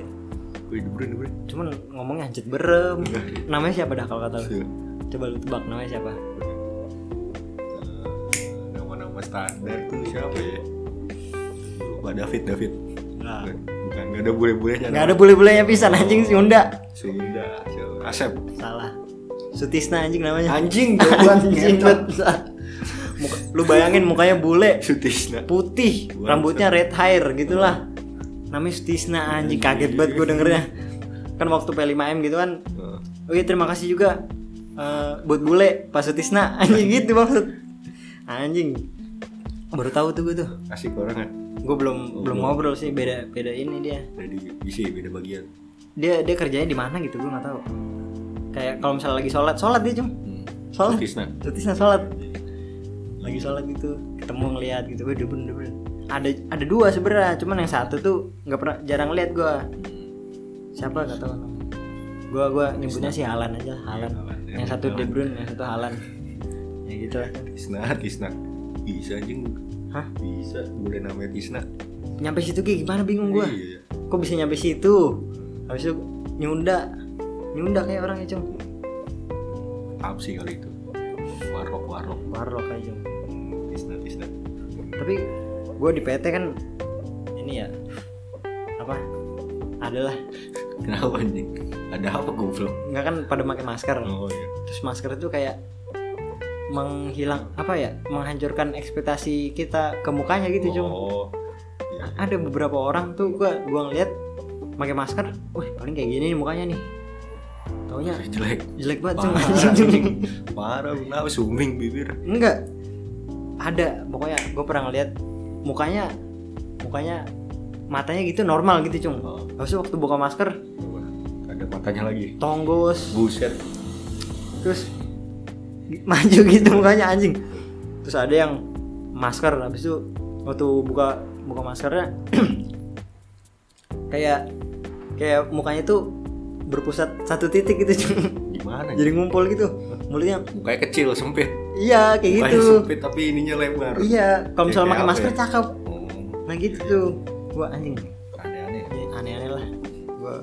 Wih, De Bruyne, De Bruyne. cuman ngomongnya anjir berem namanya siapa dah kalau kata lu Se- coba lu tebak namanya siapa eh, Nama-nama standar tuh siapa ya? Lupa David, David. Nah. Bukan, bukan. Gak ada bule-bulenya. nggak ada bule-bulenya pisan anjing si Honda Sunda, siapa? Asep. salah Sutisna anjing namanya Anjing, [laughs] anjing bet. Muka- lu bayangin mukanya bule Sutisna. putih Buat. rambutnya red hair gitulah namanya Sutisna anjing kaget banget gue dengernya kan waktu P5M gitu kan Heeh. oh iya terima kasih juga eh, buat bule Pak Sutisna anjing gitu maksud anjing baru tahu tuh gue tuh Asik orang kan. gue belum belum ngobrol sih beda beda ini dia Dari isi beda bagian. dia dia kerjanya di mana gitu gue nggak tahu kayak kalau misalnya lagi sholat sholat dia cuma Hmm. sholat Sutisna. Sutisna sholat lagi sholat gitu ketemu ngeliat gitu gue bener bener ada ada dua sebenarnya cuman yang satu tuh nggak pernah jarang lihat gue siapa nggak tahu namanya gue gue nyebutnya si Halan aja Iya, Halan Haaland, ya, yang satu Haaland. De Bruyne yang satu Halan ya gitu lah Tisna, Tisna. Bisa anjing. Hah? Bisa. Boleh namanya Tisna. nyampe situ kayak gimana bingung gue Iya. kok bisa nyampe situ habis itu nyunda nyunda kayak orangnya cung Apa sih kali itu? Warok, warok. warlock kayak cung Hmm, Tisna, Tisna. tapi gue di PT kan ini ya apa adalah Kenapa anjing? Ada apa goblok? nggak kan pada pakai masker Oh iya. terus masker itu kayak menghilang apa ya menghancurkan ekspektasi kita ke mukanya gitu cung Oh. Iya. ada beberapa orang tuh gua gua ngeliat pakai masker wih paling kayak gini nih mukanya nih taunya Jelek. jelek banget cung Parah, anjing. Parah, kenapa suming bibir? [laughs] enggak ada pokoknya gue pernah ngeliat mukanya mukanya matanya gitu normal gitu cung Oh. habis itu waktu buka masker Coba. Ada matanya lagi. tonggos Buset. terus gi- maju gitu mukanya anjing terus ada yang masker habis itu waktu buka buka maskernya [clears throat] kayak kayak mukanya tuh berpusat satu titik gitu cung Gimana? [laughs] jadi ngumpul gitu mulutnya mukanya kecil, sempit. iya kayak Mukanya gitu sempit tapi ininya lebar. iya kalau misalnya Kayak pakai apa masker ya? cakep Oh, nah gitu tuh gua anjing aneh-aneh. ini aneh-aneh lah gua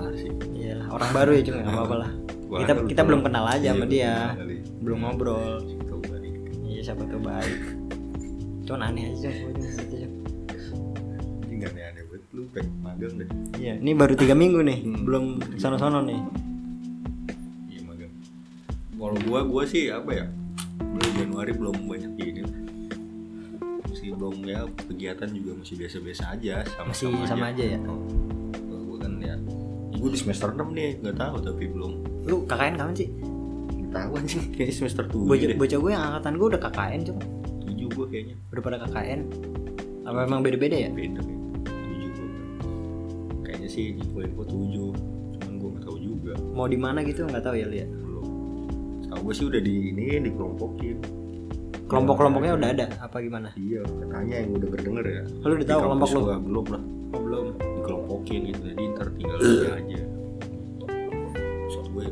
Parah sih. iyalah orang baru ya cuma nggak apa-apa lah Gua Ah, kita aneh kita lu, belum bro. kenal aja Iya, sama belum dia kenal kali. belum ngobrol Tahu kali. iya siapa tuh baik cuman aneh aja Cong. Gua cuma gitu, Cong. Ini nggak aneh-aneh banget lu pengen magang deh. iya ini baru tiga minggu nih Hmm. belum sono-sono nih Iya magang. Kalau gua gua sih apa ya? Bulan Januari belum banyak ini. Masih belum ya kegiatan juga masih biasa-biasa aja sama masih sama aja ya Oh, Kalau gua kan ya gue di semester 6 nih, nggak tahu tapi belum lu KKN kapan sih Nggak tahu anjing, kayaknya semester 7 bocah deh bocah gue yang angkatan gue udah KKN cuma 7 gue kayaknya, udah pada KKN apa emang beda-beda ya beda kayaknya 7 gue Kayaknya sih info info 7 Cuman gue nggak tahu juga, mau di mana gitu nggak tahu ya lihat belum Tahu gue sih udah di ini, dikelompokin kelompok-kelompoknya udah ada apa gimana Iya, katanya yang udah berdenger ya lu udah tahu kelompok lu Oh, Gak, belum lah belum dikelompokin gitu jadi ntar tinggal dia aja maksud gue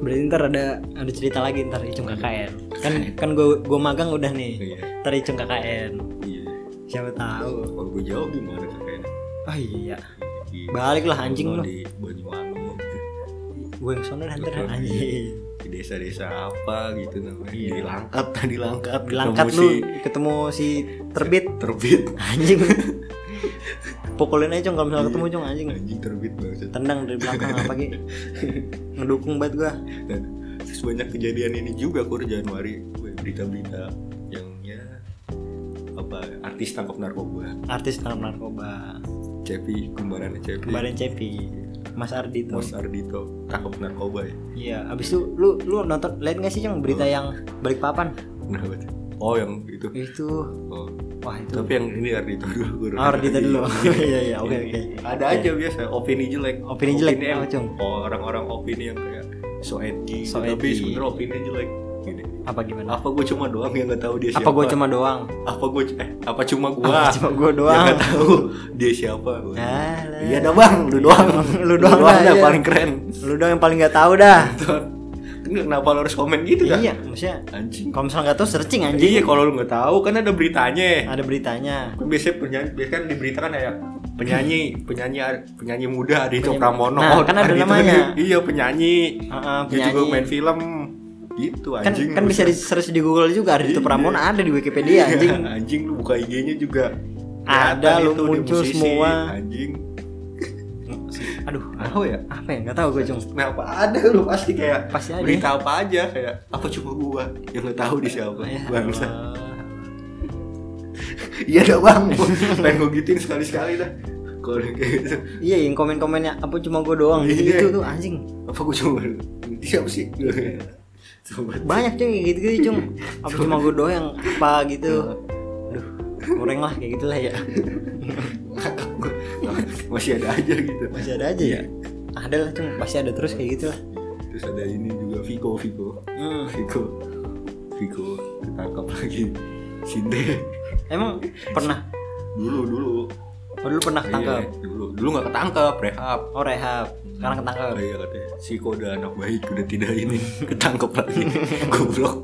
Berarti ntar ada ada cerita lagi ntar Icung KKN. Kan kan gue gue magang udah nih. iya Ntar Icung KKN. iya Siapa tahu. kalau gue jauh gimana kayaknya Oh iya. Di- Baliklah anjing kalau lu. di Banyuwangi Gue yang sono dah ntar dah, anjing. di desa-desa apa gitu namanya Iya. [laughs] dilangkat dilangkat Dilangkat ketemu lu si ketemu si terbit terbit [laughs] anjing. Pukulin aja Cung kalau misalnya ketemu Cung anjing. anjing terbit banget Tendang dari belakang apa [laughs] gitu. Ngedukung banget gua. dan terus banyak kejadian ini juga kur Januari Gue berita-berita yang ya apa artis tangkap narkoba Artis dalam narkoba. Cepi kembarannya Cepi Kemarin Cepi. Mas Ardi Iya. tuh. Mas Ardito tangkap narkoba ya Iya, abis itu lu lu nonton lihat nggak sih Cung berita yang balik papan? Nah, baca. Oh yang itu. Itu Oh. wah itu Tapi yang ini Ardito dulu. Oh, Ardito dulu. [laughs] Iya, iya, oke, Ini. oke. Iya. Ada aja biasa opini jelek. Opini jelek, yang Oh, apa, Cung? orang-orang opini yang kayak so edgy, So tapi edgy. gitu, iya." sebenarnya opini jelek. Gini. apa gimana? Apa gue cuma doang yang nggak tahu dia siapa? Apa gue cuma doang? apa gue eh, apa cuma Apa gua cuma [laughs] gue yang doang? Ya, nggak tahu dia siapa gua. Alah. Iya dah bang, lu doang, [laughs] Lu doang dah, dah, iya. paling keren. Lu doang yang paling nggak tahu dah. Nonton. Enggak kenapa lo harus komen gitu kan? iya maksudnya Anjing. kalau misalnya nggak tahu searching anjing Iya kalau lo nggak tahu kan ada beritanya. ada beritanya Kan biasanya penyanyi, biasanya kan diberitakan ya penyanyi, penyanyi, penyanyi muda Adi Penyanyi- Cokromono. Nah, kan ada Adi- namanya. Iya penyanyi. Heeh, Dia juga penyanyi. main film. Gitu kan anjing. kan lu. bisa di search di Google juga ada itu Iya. Pramono ada di [laughs] Wikipedia anjing anjing lu buka IG-nya juga. Ada, Kelihatan lu itu di muncul musisi, semua. Anjing. aduh Apa ya? apa ya nggak tahu gue cung Kenapa ada lu pasti kayak Pasti ada. berita apa aja kayak apa cuma gua yang nggak tahu di siapa Ya bangsa Allah. iya dah bang Gua pengen gua gituin sekali sekali dah kalau yang kayak gitu iya yang komen-komennya apa cuma gue doang Iya. gitu tuh anjing apa gua cuma siapa sih Sobat. banyak cung kayak gitu gitu [laughs] cung apa cuma gue doang apa gitu aduh goreng lah kayak gitulah ya masih ada aja gitu masih ada aja ya ada lah cung pasti ada terus kayak gitu lah terus ada ini juga Vigo Vigo hmm. Vigo Vigo ketangkap lagi Sinde emang pernah dulu dulu oh, dulu pernah ketangkep Iya, dulu dulu nggak ketangkep rehab oh rehab sekarang ketangkep Oh iya katanya si udah anak baik udah tidak ini [laughs] ketangkep lagi [laughs] goblok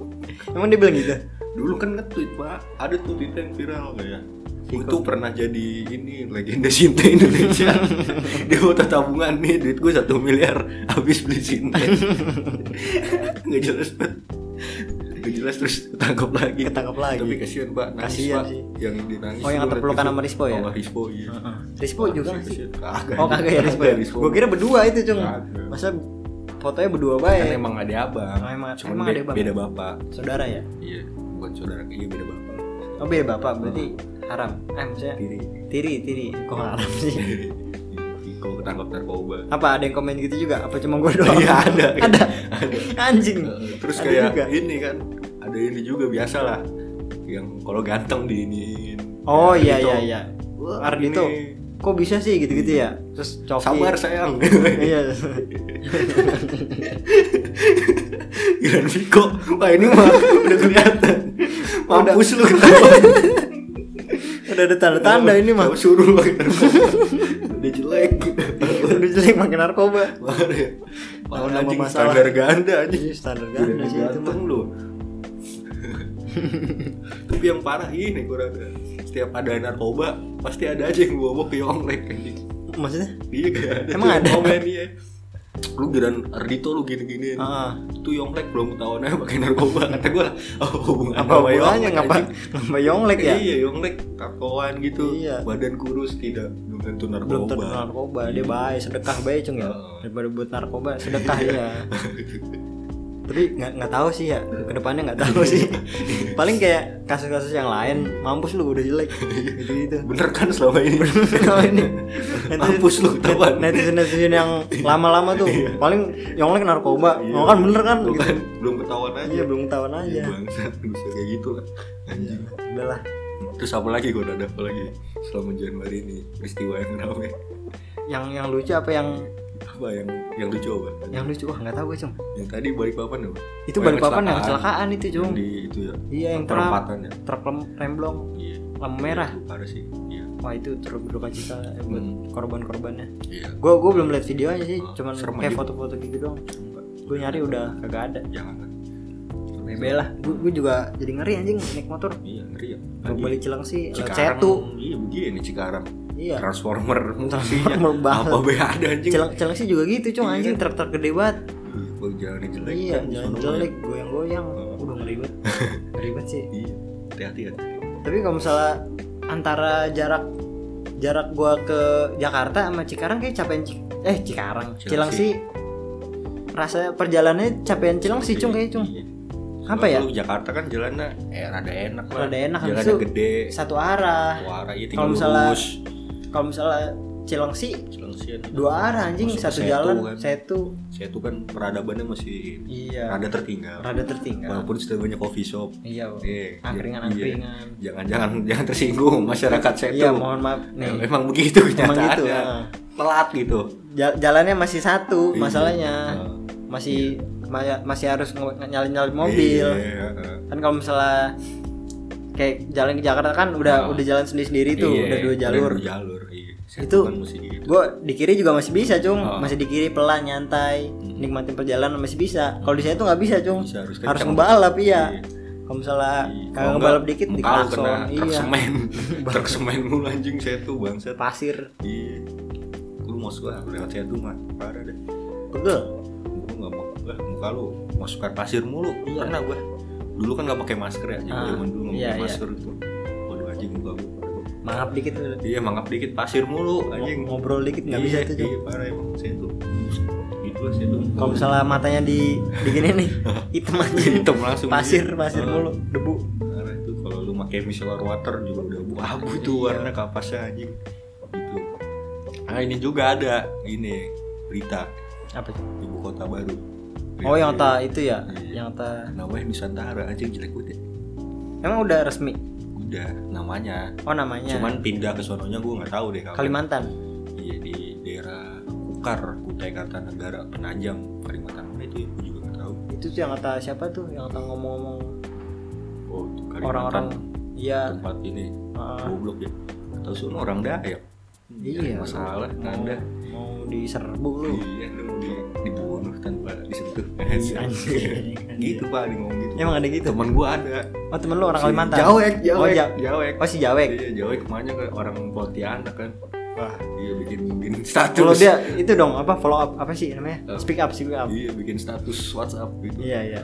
emang dia bilang gitu dulu kan nge-tweet pak ada tuh tweet yang viral kayak Viko. itu pernah jadi ini legenda Sinte [laughs] Indonesia dia mau tabungan nih duit gue satu miliar habis beli [laughs] Sinte nggak jelas banget nggak jelas terus ketangkep lagi Ketangkep lagi. tapi kasihan pak nangis Kasihan pak sih. yang dinangis Oh, yang gua terpelukan liat sama itu. Rispo ya? sama Rispo iya Rispo juga nggak sih Kasihan. kagak oh kagak ya Rispo ya gue kira berdua itu cung Kagak. masa fotonya berdua kan baik emang ada abang Oh, Iya. emang- cuman emang be- ada abang. beda bapak saudara ya iya bukan saudara iya beda bapak oh beda bapak berarti haram eh maksudnya tiri tiri tiri kok haram sih Iya, Iko ketangkap [laughs] narkoba apa ada yang komen gitu juga apa cuma gue doang Iya, ada. ada Ada. anjing Eh, terus Ada kayak juga. ini kan ada ini juga biasa lah yang kalau ganteng diinin oh Ya, iya gitu. iya iya Wah, Ardito ini. kok bisa sih gitu gitu ya terus coki sabar sayang iya Iran Viko wah ini mah [laughs] udah kelihatan mampus [laughs] lu udah ada tanda tanda ini mah Gua suruh lu makan narkoba. [laughs] udah jelek udah jelek makin narkoba Parah ya. Parah Nama-nama anjing masalah. standar ganda anjing Iya, standar ganda Udah sih itu mah ganteng lu. Tapi yang parah ini kurang setiap ada narkoba pasti ada aja yang bawa ke Yonglek anjing. maksudnya Iya gak ada. Emang tuh yang ada? Komen iya. Lu giran Ardito lu gini-gini. Ah. Itu Yonglek belum ketahuan aja pakai narkoba kata gua. Oh, hubungan apa hubungannya ngapa ngapa yonglek ya Iya, Yonglek tatoan gitu. Iya. Badan kurus tidak belum tentu belum tentu narkoba. Iya. narkoba dia baik sedekah baik cung ya Oh. daripada buat narkoba sedekah [laughs] ya tapi nggak nggak tahu sih ya kedepannya nggak Iya. tahu sih paling kayak kasus-kasus yang lain mampus lu udah jelek Iya. gitu gitu [laughs] Bener kan selama ini? [laughs] kalau ini Mampus lu, ketahuan. netizen netizen yang lama-lama tuh paling yonglek narkoba Iya. oh kan bener kan Tuh gitu. kan, belum ketahuan aja. iya Iya. belum ketahuan Iya, aja bangsat bisa kayak gitu lah. Anjing. udahlah Terus apa lagi gue ada apa lagi selama Januari ini peristiwa yang rame yang yang lucu apa yang apa yang yang lucu apa? yang lucu wah nggak tahu gue cung Yang tadi balik papan apa? itu Oh, balik papan yang kecelakaan. kecelakaan itu Yang cung di itu ya. iya yang truk Perempatan ya. truk lem- remblong Iya. lampu merah Itu parah sih. Iya. wah itu turut berduka cita ya, buat Hmm. korban-korbannya Iya. gue gue belum lihat videonya sih Oh, cuman serem kayak aja. foto-foto gitu doang gue nyari udah kagak ada Jangan kan. bebe lah gue juga jadi ngeri anjing naik motor Iya, ngeri ya. Lagi. balik cilang sih lewat Cikarang. cetu Iya, begini Cikarang. iya Transformer [laughs] Transformer fungsinya. banget. Apa be ada anjing? cilang cilang sih juga gitu cung Iya anjing kan? truk truk gede banget Iya, Bang, jalannya jelek. iya kan, di jalan sono jelek goyang goyang Oh. udah ngeri [laughs] banget ngeri banget sih banyak. Iya. Hati-hati ya. tapi kalau misalnya antara jarak jarak gua ke Jakarta sama Cikarang kayak capean Cik- eh Cikarang Cilang Cilangsi. sih rasa perjalanannya capean Cilang sih ya, cung kayaknya cung Iya. Apa ya? Lu Jakarta kan jalannya eh rada enak lah. Rada enak, habis Jalannya itu- gede. satu arah Wara ya Kalau tinggal misalnya- lurus. kalau misalnya Cilang sih Celengsian. dua arah anjing Masuk ke satu Setu jalan kan. satu Saya tuh kan peradabannya masih iya rada tertinggal. rada tertinggal Walaupun sudah banyak coffee shop. iya Eh, angkringan iya. angkringan Jangan-jangan [laughs] jangan tersinggung masyarakat saya iya tuh. Ya, mohon maaf nih Memang begitu Emang gitu, kenyataannya. ah. Telat gitu. Jal- jalannya masih satu Iya. masalahnya Ah. masih ma- masih harus nyalin nyalin mobil Iya, heeh. kan kalau misalnya kayak jalan ke Jakarta kan udah Ah. udah jalan sendiri sendiri tuh Iya, udah dua jalur dua jalur iya. Saya Itu- bukan gitu. mesti di gue di kiri juga masih bisa cung Ah. Hmm. masih di kiri pelan nyantai nikmatin perjalanan masih bisa kalau di saya tuh nggak bisa cung Bisa, harus harus kencang. ngebalap iya Iya. kalau misalnya Iya, kalau kalau ngebalap enggak, dikit di muka lu klakson, kena truk iya [laughs] semen truk semen mulu anjing saya tuh bangset pasir iya lu mau gua lewat saya tuh mah parah deh pegel gua nggak mau lah muka lu masukkan pasir mulu Iya. karena gua dulu kan nggak pakai masker ya zaman Ah, zaman dulu nggak iya, pakai iya. masker itu waduh anjing muka gua mangap dikit tuh iya mangap dikit pasir mulu anjing ngobrol dikit nggak Iya, bisa tuh cung iya parah emang saya tuh gitu lah saya tuh kalau misalnya matanya di begini nih hitam aja [laughs] hitam langsung pasir iya. pasir Ah. mulu debu Karena itu kalau lu pakai micellar water juga udah abu-abu Iya. tuh warna kapasnya anjing. Gitu. Nah ini juga ada ini berita apa Cung? ibu kota baru. oh yang ta itu ya Iya. yang ta namanya Nusantara anjing jelek banget. ya. emang udah resmi Udah namanya. oh namanya Cuman pindah ke sononya gua nggak tahu deh kapan. Kalimantan Iya di daerah Kukar, Kutai Kartanegara, Penajam, Kalimantan mana itu ya? Gua juga nggak tahu. itu tuh yang kata siapa tuh yang kata ngomong-ngomong Oh, itu Kalimantan. orang-orang iya tempat ini uh, goblok ya. Atau semua orang Dayak. Iya. Masalah mau, Anda. mau diserbu lu Iya, lu mau di- dibunuh tanpa disentuh. Anjing. Iya. [laughs] gitu pak, dia ngomong gitu. Iya, emang ada gitu teman gua ada. oh temen lu orang Si Kalimantan Jawek, Jawek, oh, Ja- Jawek. oh, si Jawek Iya, Jawek kemana ke orang Pontianak kan? wah Iya bikin bikin status. kalau dia itu dong apa follow up apa sih Eh. namanya speak up speak up Iya bikin status WhatsApp gitu. iya iya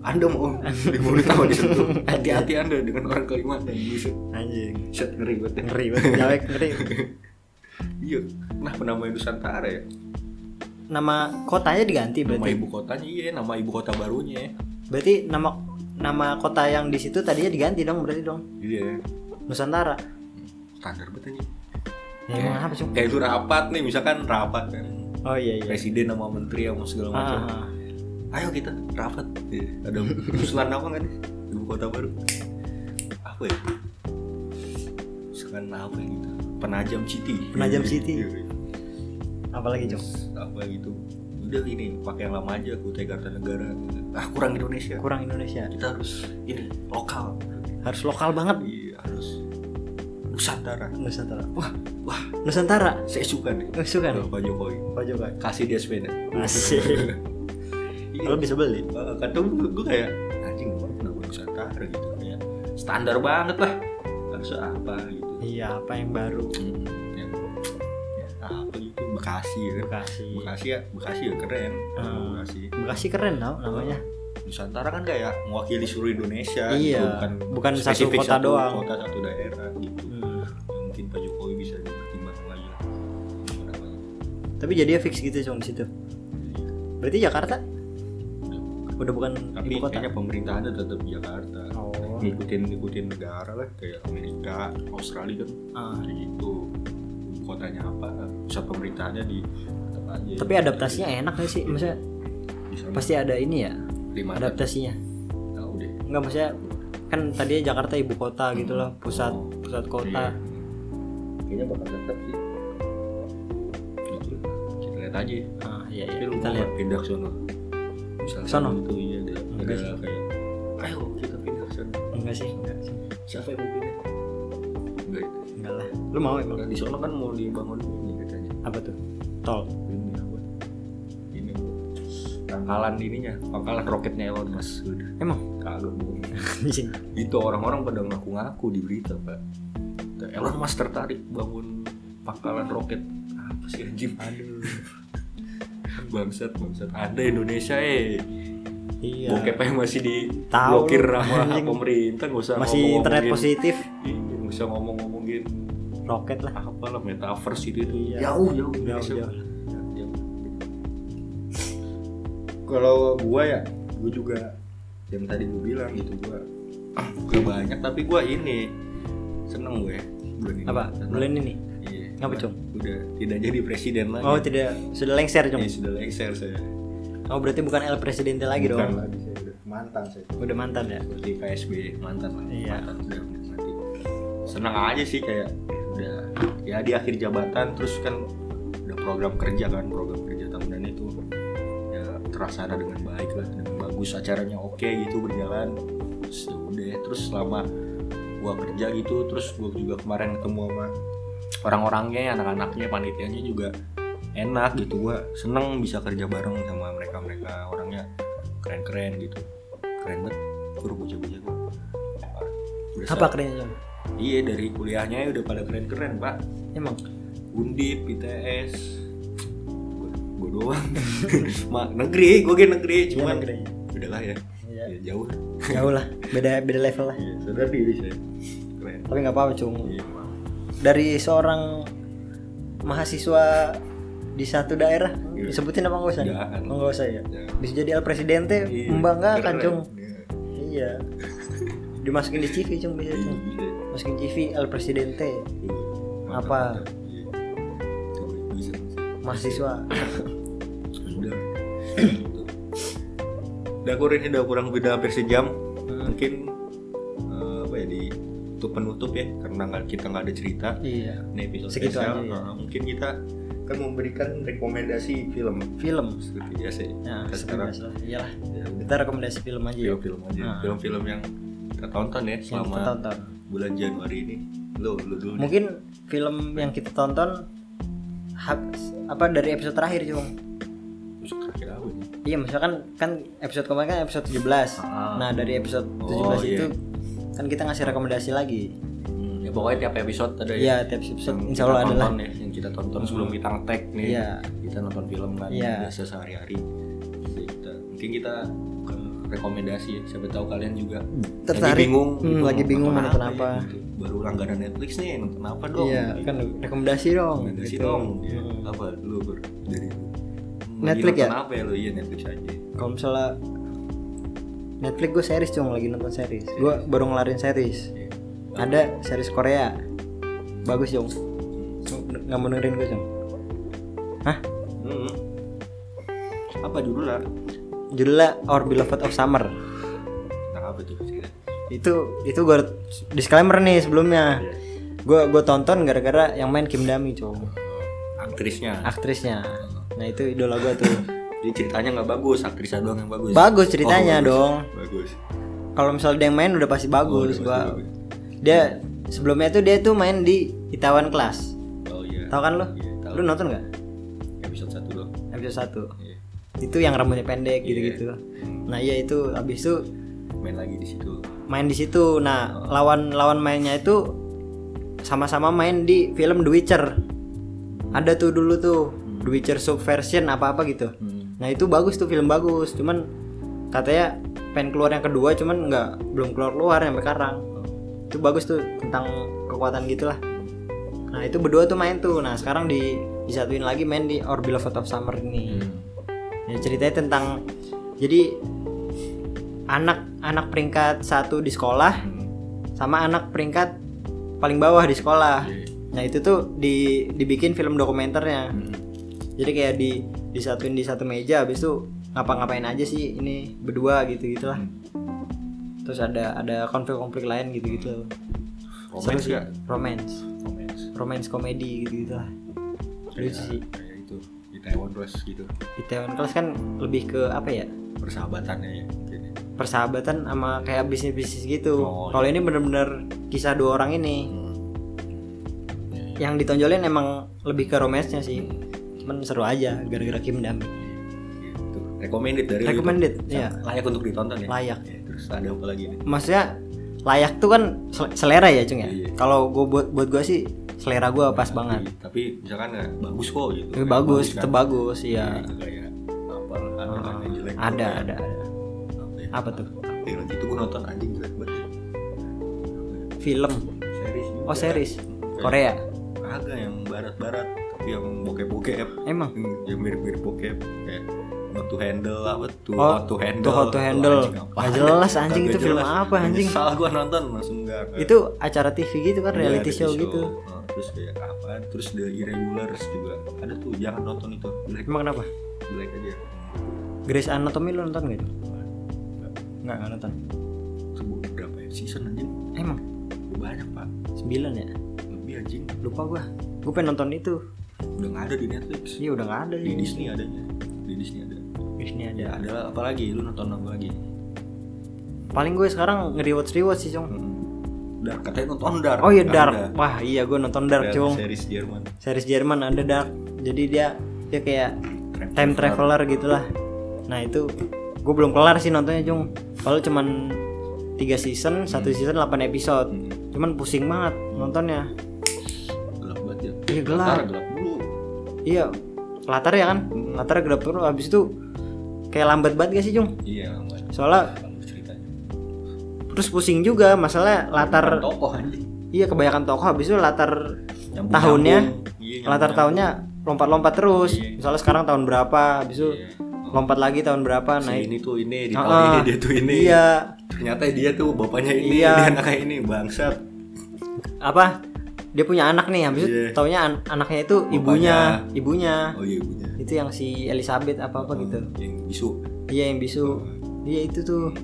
Anda mau dibunuh [laughs] tanpa disentuh. Hati-hati Iya. Anda dengan orang Kalimantan. Buset, anjing Set ngeri banget. ya. ngeri banget Jawek ngeri Iya, kenapa namanya Nusantara ya? nama kotanya diganti Nama berarti ibu kotanya iya, nama ibu kota barunya ya. berarti nama nama kota yang di situ tadinya diganti dong berarti dong Iya, Nusantara standar banget anjing. ya, emang apa sih Kayak itu rapat nih, misalkan rapat kan. oh iya iya presiden sama menteri sama segala macam. Ah, Ayo kita rapat. Iya, [laughs] Ada usulan apa kan? Ibu kota baru. Apa ya? Usulan apa gitu? Penajam City. Penajam City. Iya, iya. apalagi cung Apa gitu? Udah ini pakai yang lama aja Kutai Kartanegara. Ah kurang Indonesia. kurang Indonesia Kita harus ini lokal. harus lokal banget Iya harus Nusantara. Nusantara Wah wah Nusantara saya suka nih. Eh, suka nih Pak Jokowi Pak Jokowi kasih dia ya. sepeda. [laughs] Asik. Iya. lo bisa beli Eh, kadang gue, gue kayak anjing gue kenapa Nusantara gitu kayak standar banget lah harus apa gitu iya apa yang baru Hmm, ya, ya, apa gitu Bekasi ya kan Bekasi Bekasi ya Bekasi ya keren Hmm. Bekasi Bekasi keren tau namanya Nusantara kan kayak mewakili seluruh Indonesia Iya, gitu, bukan satu spesifik kota doang. kota satu daerah gitu Hmm. Ya, mungkin Pak Jokowi bisa dipertimbangkan lagi lah. Gimana namanya? tapi jadinya fix gitu cung di situ Iya. berarti Jakarta udah bukan tapi ibu kota kayaknya pemerintahannya tetap Jakarta oh ngikutin ngikutin negara lah kayak Amerika Australia kan Ah. Jadi itu ibu kotanya apa pusat pemerintahannya di tetap aja ya? tapi adaptasinya enak gak sih maksudnya Di sana, pasti ada ini ya di mana adaptasinya tahu deh nggak maksudnya kan tadinya Jakarta ibu kota gitu loh pusat pusat Iya. kota kayaknya bakal tetap sih gitu lah. kita lihat aja ya. ah iya Tapi iya lu kita mau lihat nggak pindah ke sono misalkan Sono? itu iya ada, ada Enggak sih. kayak ayo kita pindah ke sono enggak sih enggak sih siapa yang mau pindah enggak itu enggak lah lu mau emang Kalau di sono kan mau dibangun ini katanya apa tuh tol [laughs] ini apa ini pangkalan ininya pangkalan roketnya Elon Musk udah emang kagak bohong anjing itu orang-orang pada ngaku-ngaku di berita pak Elon Musk tertarik bangun pangkalan roket apa sih anjing aduh bangsat bangsat ada Indonesia eh iya bokep yang masih di Tahu blokir lu, sama anjing. pemerintah gak usah masih internet ngomong-ngomongin- positif Iya, nggak usah ngomong-ngomongin roket lah apalah metaverse itu itu Iya. jauh jauh Jauh, Indonesia. jauh. Jauh. kalau gua ya gua juga yang tadi gua bilang gitu gua [clears throat] gua banyak tapi gua ini seneng gue bulan ini apa Seneng. bulan ini iya Ngapa, Udah- Cung? udah tidak jadi presiden lagi oh tidak sudah lengser Iya, dong sudah lengser saya oh berarti bukan El Presidente lagi Bukan dong lagi saya udah mantan saya udah mantan ya seperti KSB mantan lah Iya. mantan udah mati senang aja sih kayak udah ya di akhir jabatan terus kan udah program kerja kan program kerja tahunan itu ya terlaksana dengan baik lah dengan bagus acaranya oke gitu berjalan terus ya udah terus selama gua kerja gitu terus gua juga kemarin ketemu sama orang-orangnya anak-anaknya panitianya juga enak gitu gua seneng bisa kerja bareng sama mereka mereka orangnya keren-keren gitu keren banget guru bocah-bocah gua Berasa- Apa kerennya Jong? iya dari kuliahnya udah pada keren-keren pak Emang? Undip, ITS gue doang [laughs] Ma, negeri gue gini negeri cuman Iya, negeri. beda lah ya, ya jauh Iya. Jauh lah, beda beda level lah. Iya, sadar diri saya keren Tapi nggak apa-apa cung. iya Pak. Dari seorang mahasiswa di satu daerah Iya. disebutin apa nggak usah? Jangan. Nggak usah ya. Jangan. Bisa jadi al presidente Iya, membanggakan keren. cung. Iya, Iya. Dimasukin di CV cung bisa iya, cung. iya. Masukin CV al presidente Iya. Mantap, Apa? mantap. Iya. Tuh, bisa, bisa. mahasiswa. Udah. Udah aku ini udah kurang beda hampir sejam. Hmm. Mungkin eh, apa ya di untuk penutup ya karena nggak kita nggak ada cerita iya. ini episode Segitu spesial. aja, ya. Eh, mungkin kita akan memberikan rekomendasi film Film. seperti biasa. ya. Nah, Kita sekarang sekarang iyalah. ya, Kita rekomendasi film aja ya. film-film aja, Nah. film-film yang kita tonton ya Yang kita selama tonton. bulan Januari ini. Lo, lo dulu. deh. Mungkin film yang kita tonton hab- apa dari episode terakhir cung. Terus Kira-kira apa nih? Iya, misalkan kan episode kemarin kan episode 17. Ah. Nah, dari episode 17 Oh, iya. itu kan kita ngasih rekomendasi lagi. Hmm, ya pokoknya tiap episode ada ya. Iya, tiap episode yang insya kita Allah ada lah. Hmm. tonton ya, yang kita tonton sebelum kita ngetek nih Iya. kita nonton film kan Iya. biasa sehari-hari Jadi kita mungkin kita akan rekomendasi ya siapa tahu kalian juga lagi Tertarik. bingung Hmm, gitu, lagi bingung mau nonton ya, apa. gitu. baru langganan Netflix nih nonton apa dong Iya, Gitu. kan rekomendasi dong. rekomendasi gitu. dong Iya. Hmm. apa lu Ber? dari lu. Hmm, lagi Netflix ya? nonton apa ya lu iya Netflix aja Kalau misalnya Netflix gue series cung lagi nonton series. Gue baru ngelarin series. Iya. Ada series Korea. Bagus cung. Nggak mau dengerin gue cung. Hah? Hmm. apa dulu lah Judulnya Our Beloved of Summer. tentang apa tuh Iya. Itu itu gue disclaimer nih sebelumnya. Gue gue tonton gara-gara yang main Kim Dami cung. aktrisnya aktrisnya nah itu idola gue tuh jadi ceritanya nggak bagus aktrisnya doang yang bagus bagus Oh, ceritanya bagus. dong bagus kalau misalnya dia yang main udah pasti Oh, bagus udah gua pasti bagus. dia sebelumnya tuh dia tuh main di Itawan Class oh iya tau kan lu Iya, tahu. lu nonton nggak episode satu dong episode Iya. 1 itu yang rambutnya pendek gitu-gitu nah iya itu abis itu main lagi di situ main di situ nah lawan lawan mainnya itu sama-sama main di film The Witcher ada tuh dulu tuh The Witcher subversion apa apa gitu Nah itu bagus tuh film bagus, cuman katanya pengen keluar yang kedua, cuman nggak belum keluar keluar sampai sekarang. Hmm. Itu bagus tuh tentang kekuatan gitulah. Nah itu berdua tuh main tuh. Nah sekarang di disatuin lagi main di Our Beloved of Summer ini. Hmm. Ya, ceritanya tentang jadi anak anak peringkat satu di sekolah sama anak peringkat paling bawah di sekolah. Iya. Nah itu tuh di dibikin film dokumenternya jadi kayak di disatuin di satu meja habis itu ngapa-ngapain aja sih ini berdua gitu gitulah Hmm. terus ada ada konflik-konflik lain gitu gitu romance ya romance romance Ya, romance komedi gitu gitulah Iya. lucu sih kayak itu di Taiwan terus gitu di Taiwan Class kan lebih ke apa ya persahabatannya ya mungkin ya. persahabatan sama kayak bisnis bisnis gitu Oh, kalau ini bener-bener kisah dua orang ini yang ditonjolin emang lebih ke romance nya sih Hmm. cuman seru aja gara-gara Kim Dam Iya, gitu recommended dari lu itu. recommended ya layak untuk ditonton ya layak Ya, terus ada apa lagi nih maksudnya layak tuh kan sel- selera ya cung ya Iya. kalau gue buat buat gue sih selera gue pas banget Tapi- tapi misalkan ya, bagus kok gitu Tapi Iya. bagus kan? tetep bagus ya iya Ah, kayak apa ada kan yang jelek Kayak ada ada ada apa, ya? apa tuh Eh, waktu itu gue nonton anjing jelek banget film series juga. oh series Kayak- Korea Agak yang barat-barat tapi yang bokep-bokep emang Hmm, yang mirip-mirip bokep kayak how to handle apa tuh Oh, how to handle tuh How to Handle. Nggak jelas, anjing, itu film apa, anjing? salah gua nonton langsung Iya, enggak itu acara TV gitu kan Iya. reality show gitu Oh, terus kayak apa terus the irregulars juga ada tuh jangan nonton itu jelek emang kenapa jelek aja Grey's Anatomy lo nonton gak nggak nggak nonton sebut berapa ya? season anjing emang banyak pak sembilan ya lebih anjing lupa gue gue pengen nonton itu udah nggak ada di Netflix iya udah nggak ada di ya Disney adanya di Disney ada Disney ya ada ada apa lagi lu nonton apa lagi paling gue sekarang nge-rewatch rewatch sih cung Hmm. Dark katanya nonton Dark. Oh iya Ada. Dark. Wah iya gue nonton Dark Dark cung. series Jerman. Series Jerman ada Dark. Jadi dia dia kayak time traveler gitulah. Nah itu gue belum kelar sih nontonnya cung. Kalau cuman tiga season, satu season 8 episode. Hmm. Cuman pusing banget nontonnya. Gelap banget ya. Iya, gelap. Ntar gelap dulu. Iya. Latar ya kan? Hmm. Latar gelap terus. Abis itu kayak lambat banget gak sih cung? Iya, lambat. Soalnya Bagus ceritanya. terus pusing juga masalah latar tokoh anjing. iya kebanyakan tokoh habis itu latar Nyambung-nyambung. tahunnya Iya, nyambung-nyambung. latar tahunnya lompat-lompat terus Iya. misalnya sekarang tahun berapa habis itu Iya. lompat lagi tahun berapa Si naik ini tuh ini di tahun Ah, ini dia tuh ini. iya Ternyata dia tuh bapaknya ini, Iya. dia anaknya ini bangsat. apa dia punya anak nih habis itu Iya. taunya an- anaknya itu ibunya ibunya Oh iya punya. Oh, itu yang si Elizabeth apa apa gitu Yang bisu. iya yang bisu iya itu tuh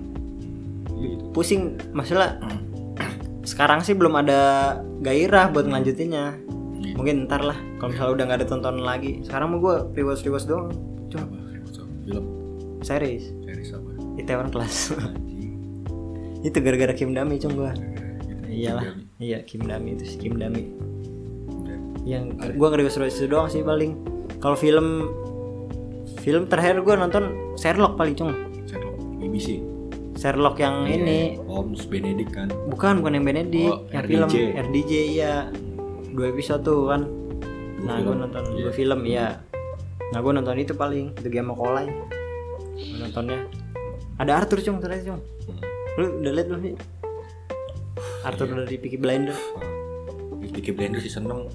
Iya, gitu. pusing masalah sekarang sih belum ada gairah buat ngelanjutinnya mungkin ntar lah kalau misalnya udah nggak ada tontonan lagi sekarang mau gue rewatch rewatch doang cuma Apa? Film series series apa? Itaewon Class Anjing. [laughs] itu gara-gara Kim Dami cung gue Gitu. iyalah iya Kim Dami itu si Kim Dami Udah. yang gue ngerewatch rewatch itu doang sih paling kalau film film terakhir gue nonton Sherlock paling cung Sherlock BBC. Sherlock yang ini Holmes Benedict kan. bukan bukan yang Benedict Iya. Oh, yang RDJ. film RDJ ya dua episode tuh kan Dua nah film. gue nonton Iya. dua film ya nah gue nonton itu paling The Game of Kolai Gua nontonnya ada Arthur cung terakhir cung Nah, lu udah liat belum sih Arthur Iya. dari Peaky Blinder Di Peaky Blinders sih seneng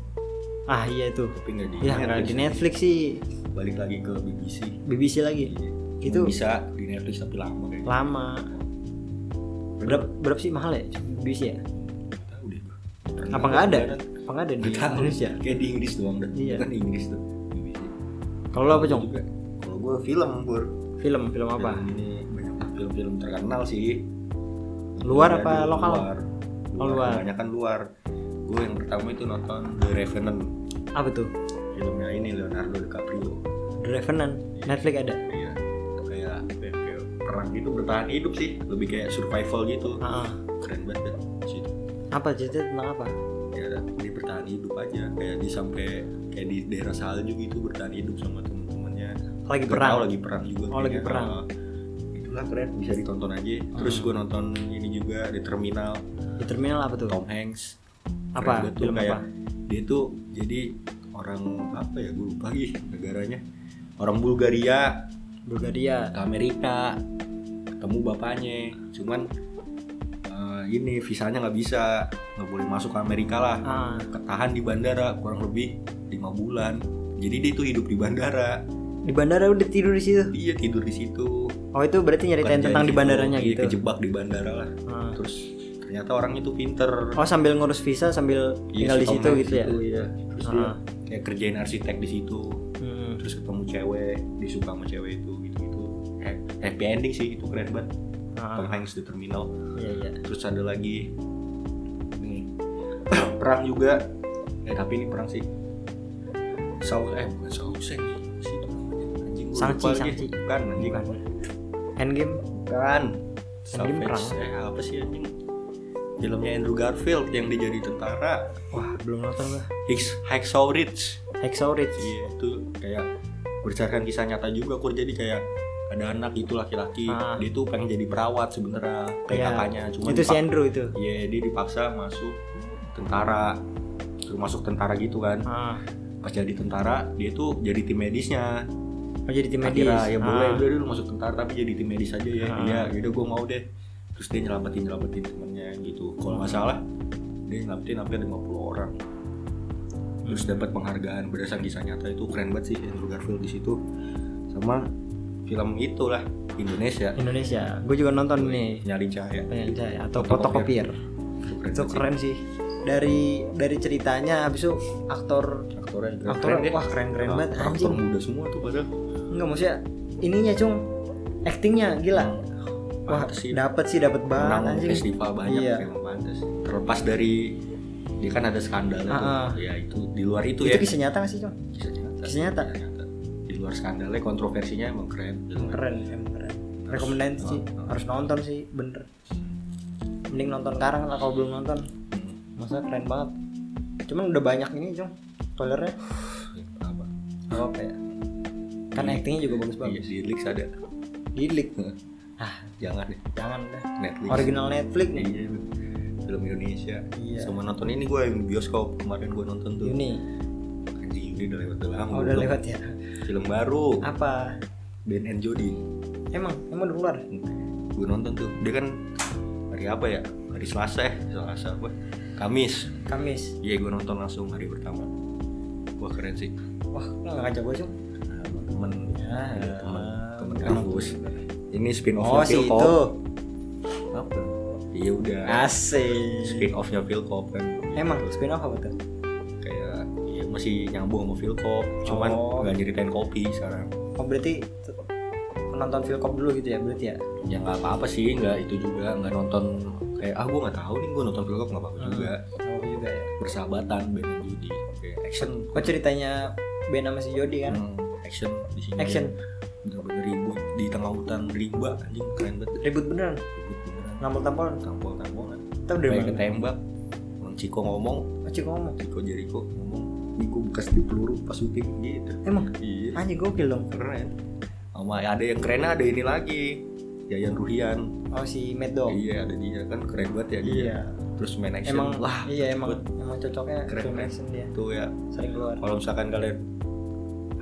ah iya itu tapi nggak di, ya nggak di Netflix sih balik lagi ke BBC BBC lagi itu itu Iya. bisa di Netflix tapi lama gitu. kayaknya lama berapa berapa sih mahal ya BBC ya Nggak tahu deh gua. apa nggak ada Nggak apa nggak ada di Nggak tahu. Indonesia kayak di Inggris doang dah Iya. kan di Inggris tuh BBC kalau lo apa cung Juga. kalau gue film bur film film apa Film ini banyak film-film terkenal sih Luar Ada apa di lokal? luar Oh, luar, luar. kebanyakan luar gue yang pertama itu nonton The Revenant apa tuh filmnya ini Leonardo DiCaprio The Revenant Netflix ada Iya, kayak kayak kayak perang gitu bertahan hidup sih lebih kayak survival gitu Ah, ah. keren banget deh situ apa cerita tentang apa ya dia bertahan hidup aja kayak di sampai kayak di daerah salju gitu bertahan hidup sama temen-temennya Nggak lagi tahu perang lagi perang juga Oh, lagi kayaknya. perang. Ah, itulah keren bisa ditonton aja terus Hmm. gue nonton ini juga di terminal di terminal apa tuh Tom Hanks Keren Apa? banget tuh, Film kayak apa? dia tuh jadi orang apa ya gue lupa lagi negaranya orang Bulgaria Bulgaria ke Amerika ketemu bapaknya cuman eh, ini visanya nggak bisa nggak boleh masuk ke Amerika lah ah ketahan di bandara kurang lebih lima bulan jadi dia tuh hidup di bandara di bandara udah tidur di situ dia tidur di situ oh itu berarti nyeritain Kerja tentang di situ. bandaranya Iya, gitu kejebak di bandara lah Ah. terus ternyata orang itu pinter oh sambil ngurus visa sambil Iya, tinggal si di Tom situ Hanks gitu ya itu, iya. terus dia Ah. kayak kerjain arsitek di situ Hmm. terus ketemu cewek disuka sama cewek itu gitu gitu happy ending sih itu keren banget Ah, Tom Hanks di terminal iya iya terus ada lagi ini [coughs] perang juga eh tapi ini perang sih Saul eh bukan Saul Seng situ anjing gua Shang-Chi, lupa lagi. Shang-Chi. bukan anjing Bukan. Endgame bukan Salvage, perang. eh apa sih anjing filmnya Andrew Garfield yang dia jadi tentara wah belum nonton gua Hicks Hacksaw Ridge Hacksaw Ridge iya itu kayak berdasarkan kisah nyata juga kur jadi kayak ada anak itu laki-laki Ah. dia tuh pengen jadi perawat sebenarnya kayak Iya. kakaknya cuma itu si Andrew itu Iya, dia dipaksa masuk tentara, Suruh masuk tentara gitu kan. ah Pas jadi tentara, dia tuh jadi tim medisnya. oh jadi tim medis Akhirnya ya Ah. boleh, udah dulu masuk tentara tapi jadi tim medis aja ya. Ah. Iya, yaudah gue mau deh. Terus dia nyelamatin nyelamatin temennya gitu. Kalau nggak salah, dia nyelamatin hampir 50 orang. Terus Hmm. dapat penghargaan berdasarkan kisah nyata itu keren banget sih Andrew Garfield di situ. Sama film itulah Indonesia Indonesia gue juga nonton nih nyari cahaya Penyandai ya. atau Fotokopier. fotokopier itu keren banget itu sih. keren sih dari dari ceritanya habis itu aktor aktornya juga Aktornya, keren deh. wah, keren-keren banget, aktor anjing. muda semua tuh padahal enggak maksudnya ininya cung actingnya gila wah Pantes sih dapat sih dapat banget menang anjing festival banyak Iya. memang pantas terlepas dari dia kan ada skandalnya tuh. Ah, ah. ya itu di luar itu, itu ya kisah nyata nggak sih cung Kisah nyata. kisah nyata. Kisah nyata. di luar skandalnya kontroversinya emang keren gitu. keren emang keren rekomendasi sih nonton. harus nonton sih bener mending nonton sekarang lah kalau belum nonton masa keren banget cuman udah banyak ini cung spoilernya apa Gak apa ya kan actingnya juga bagus iya banget di Netflix ada dilik ah jangan deh jangan dah Netflix original Netflix nih iya film Indonesia Iya. sama nonton ini gue yang di bioskop kemarin gue nonton tuh Yuni Anjing ini udah lewat udah lama oh, Iya. udah belum. lewat Ah. ya film baru apa Ben and Jody emang emang udah keluar gue nonton tuh dia kan hari apa ya hari Selasa eh Selasa apa Kamis Kamis iya gue nonton langsung hari pertama wah keren sih wah lu nggak ngajak gue cung Nah, sama temen Ya, ada temen temen emang. kampus ini spin oh offnya si Philcop itu Ah. apa iya udah asik spin offnya Philcop kan emang spin off apa tuh kayak ya masih nyambung sama Philcop cuman Oh. nggak nyeritain kopi sekarang oh berarti t- penonton Philcop dulu gitu ya berarti ya ya nggak apa-apa sih nggak itu juga nggak nonton kayak ah gue nggak tahu nih gue nonton Philcop nggak apa-apa Hmm. juga Sama gua juga ya persahabatan Ben and Judy kayak action kok ceritanya Ben sama si Jody kan Hmm, action di sini action bener-bener ribut di tengah hutan rimba anjing keren banget kan. ribut beneran ribut beneran nampol tampolan tampol tampolan kita udah kayak mana ketembak Bang Ciko ngomong Oci ngomong Ciko Jericho ngomong ini gue bekas di peluru pas syuting gitu emang iya anjing gokil dong keren sama ada yang keren ada ini lagi Yayan Ruhian oh si Mad Dog iya ada dia kan keren banget ya dia terus main action emang wah cepet iya emang emang cocoknya Keren, film keren. action dia tuh ya sering keluar kalau misalkan kalian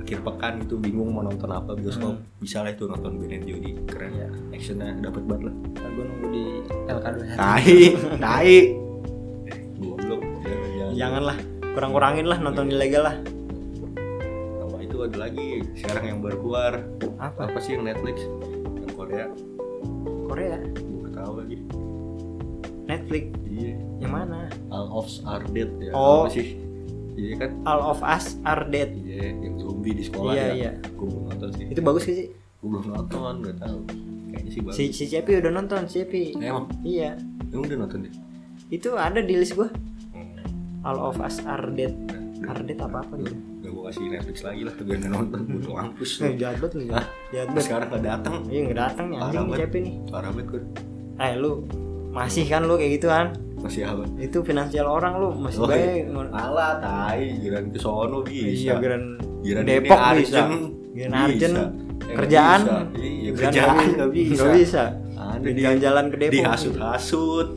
akhir pekan itu bingung mau nonton apa bioskop Hmm. bisa lah itu nonton Ben and Jody keren iya actionnya dapat banget lah ntar gue nunggu di LK2 tai tai goblok jangan jangan. janganlah kurang-kurangin lah nonton ilegal lah sama itu ada lagi sekarang yang baru keluar apa apa sih yang Netflix yang Korea Korea gue nggak tahu lagi Netflix iya yang mana All of Us Are Dead ya apa Oh. sih iya kan All of Us Are Dead iya yang zombie di sekolah Iya, ya iya. gue belum nonton sih itu bagus gak sih gue belum nonton nggak tahu kayaknya sih bagus Eh, si si Cepi udah nonton si Cepi emang iya emang udah nonton deh itu ada di list gue hmm. All of Us Are Dead Are Dead apa apa gitu Gak gue kasih Netflix lagi lah biar nggak nonton butuh mampus Eh, jahat banget lu ya. Hah? Jahat Terus banget. sekarang nggak datang Iya nggak datang nih anjing Parah nih banget. Cepi nih. parah banget gue Eh lu masih kan lu kayak gitu kan? masih apa Itu finansial orang lu masih Oh, baik. Alah tai giran ke sono bisa Iya geran Giran ini Iya, Depok Arjen bisa. Giran Arjen kerjaan iya Giran kerjaan Arjen nggak bisa Nggak bisa. ada di Jalan-jalan ke Depok. dihasut-hasut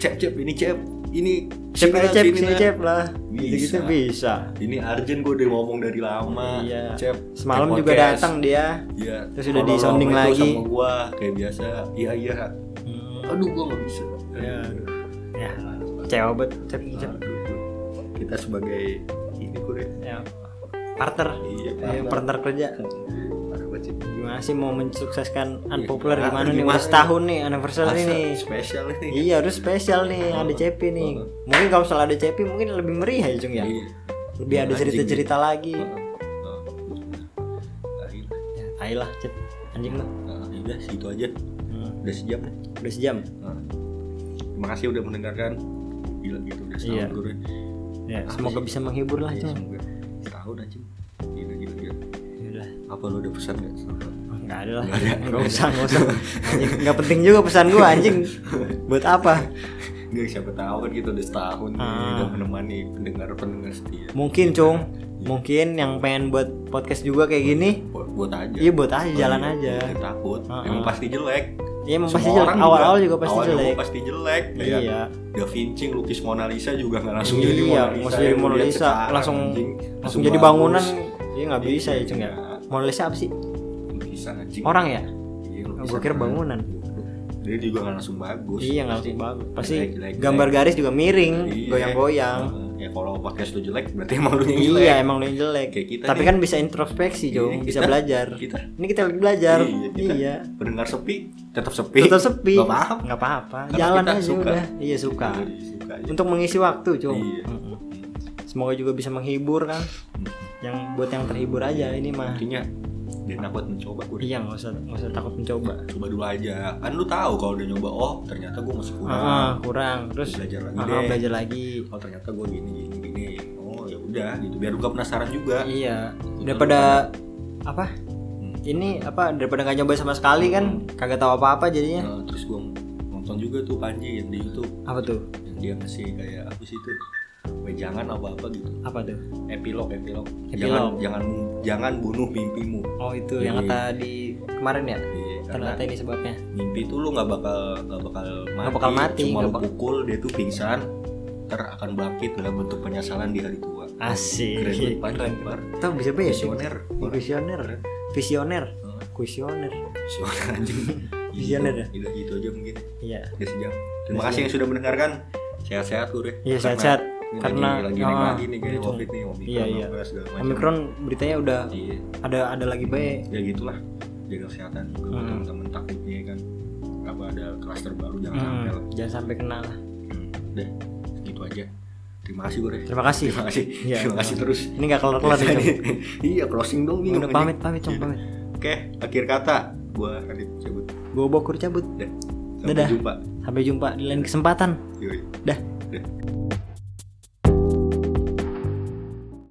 cep cep ini cep ini Cep sini lah, cep sini sini lah. cep lah. Bisa. Gitu-gitu bisa. ini Arjen gue udah ngomong dari lama Iya. cep Semalam cep juga podcast. datang dia. Iya. Terus udah Kalau lo disounding sama itu lagi. sama gua kayak biasa iya iya aduh gua nggak bisa Iya. Ya. Cewek banget cep Nah. cep. Aduh. kita sebagai ini kure Ya. Partner. iya Ayo, partner kerja. Parah banget sih. Gimana sih mau mensukseskan unpopular Iya, gimana nih gimana? ulang tahun nih anniversary Asal nih. spesial ini Iya harus spesial nih ada Cepi nih. Mungkin kalau misalnya ada Cepi mungkin lebih meriah ya Jung ya. Iya. Lebih ada Anjing. Iya. cerita-cerita lagi. Heeh. Heeh. Ya, tai lah Cep. Anjing lah. Nah, ya udah segitu aja udah sejam nih Iya, Udah sejam. Heeh. terima kasih udah mendengarkan gila gitu udah setahun Iya. gue Ya, semoga bisa menghibur lah Jung. Iya, semoga setahun aja gila gila gila Udah. apa lo udah pesan nggak sama Enggak Oh, ada lah. [laughs] Enggak usah, enggak usah. Anjing, enggak penting juga pesan gua anjing. Buat apa? Gak siapa tahu kan kita udah setahun nih, Ah. udah menemani pendengar pendengar setia. Mungkin Cung, mungkin yang pengen buat podcast juga kayak gini, Buat, buat aja. iya buat aja jalan Iya, aja. jangan takut. Ah, Emang ah. pasti jelek. Iya, emang Semua pasti jelek. orang Awal-awal juga pasti awal Iya. jelek. pasti jelek. Kayak Iya. Da Vinci lukis Mona Lisa juga nggak langsung Iya, jadi Mona Lisa. langsung jadi yang Mona dilihat Lisa, sekarang, langsung- anjing. Langsung jadi bagus. bangunan. Iya nggak bisa ya Cung ya. Iya. Mona Lisa apa sih? Lukisan anjing. Orang ya? Iya, lukisan Gue kira orang. bangunan. Dia juga nggak langsung bagus. Iya nggak langsung bagus. Pasti Jelek-jelek. gambar garis juga miring, Iya. goyang-goyang. Heeh. Ya kalau podcast lu jelek berarti emang lu yang jelek. Iya emang lu yang jelek. Kayak kita Tapi nih. kan bisa introspeksi Iya, Jong, bisa kita- belajar. Kita Ini kita lagi belajar. Iya, kita- Iya. pendengar sepi tetap sepi Tetap sepi. Gak paham Nggak apa-apa. Karena Jalan kita aja suka. udah. Iya suka. Jadi suka aja. Untuk mengisi waktu Jong. Iya. Mm-mm. Semoga juga bisa menghibur kan. Yang buat yang terhibur Iya, aja ini mah. Intinya dan takut mencoba gue Iya nggak usah nggak usah takut mencoba. coba dulu aja kan lu tahu kalau udah nyoba oh ternyata gue masih kurang Ah, kurang. Terus Belajar lagi ah, deh. belajar lagi. oh ternyata gue gini gini gini oh ya udah gitu biar lu gak penasaran juga Iya, Ikut daripada apa? Hmm. Ini apa daripada nggak nyoba Hmm. sama Eh, sekali kan kagak tahu apa-apa jadinya. Nah, terus gue nonton juga tuh Panji yang di YouTube Apa tuh? yang dia ngasih kayak apa sih itu wejangan apa apa gitu apa tuh epilog epilog, Epilog. jangan jangan jangan bunuh mimpimu oh itu yang Iya. kata di kemarin Iya, ya karena ternyata ini sebabnya mimpi tuh lu nggak bakal nggak bakal mati, Nggak bakal mati, cuma nggak lu bak- pukul dia tuh pingsan ter akan bangkit dalam bentuk penyesalan di hari tua asik keren banget Pak Akbar. kita bisa apa ya visioner visioner visioner Heeh. visioner visioner anjing Visioner ya? Gitu- gitu aja mungkin iya Udah sejam. Terima kasih yang sudah mendengarkan. iya. Sehat-sehat lu, Re. Iya, Karena sehat-sehat. ini Karena- lagi, lagi naik ah, lagi nih kayak gitu. Covid nih, Omikron, Iya, iya. apa segala macam. omikron beritanya udah Iya. ada ada lagi baik Ya gitulah. Jaga kesehatan juga Hmm. teman-teman takutnya kan apa ada klaster baru jangan sampai lah. Hmm, jangan sampai kena lah Hmm. Udah, gitu aja. Terima kasih, gue, Re. terima kasih Terima kasih. Iya. Terima kasih terus. ini nggak kelar kelar nih Cong. iya, closing dong nih. udah pamit pamit Iya. cong pamit Oke, akhir kata gua Radit cabut. gue bokur cabut Dah. Sampai Dadah. jumpa. sampai jumpa di lain kesempatan Yoi. dah Dah.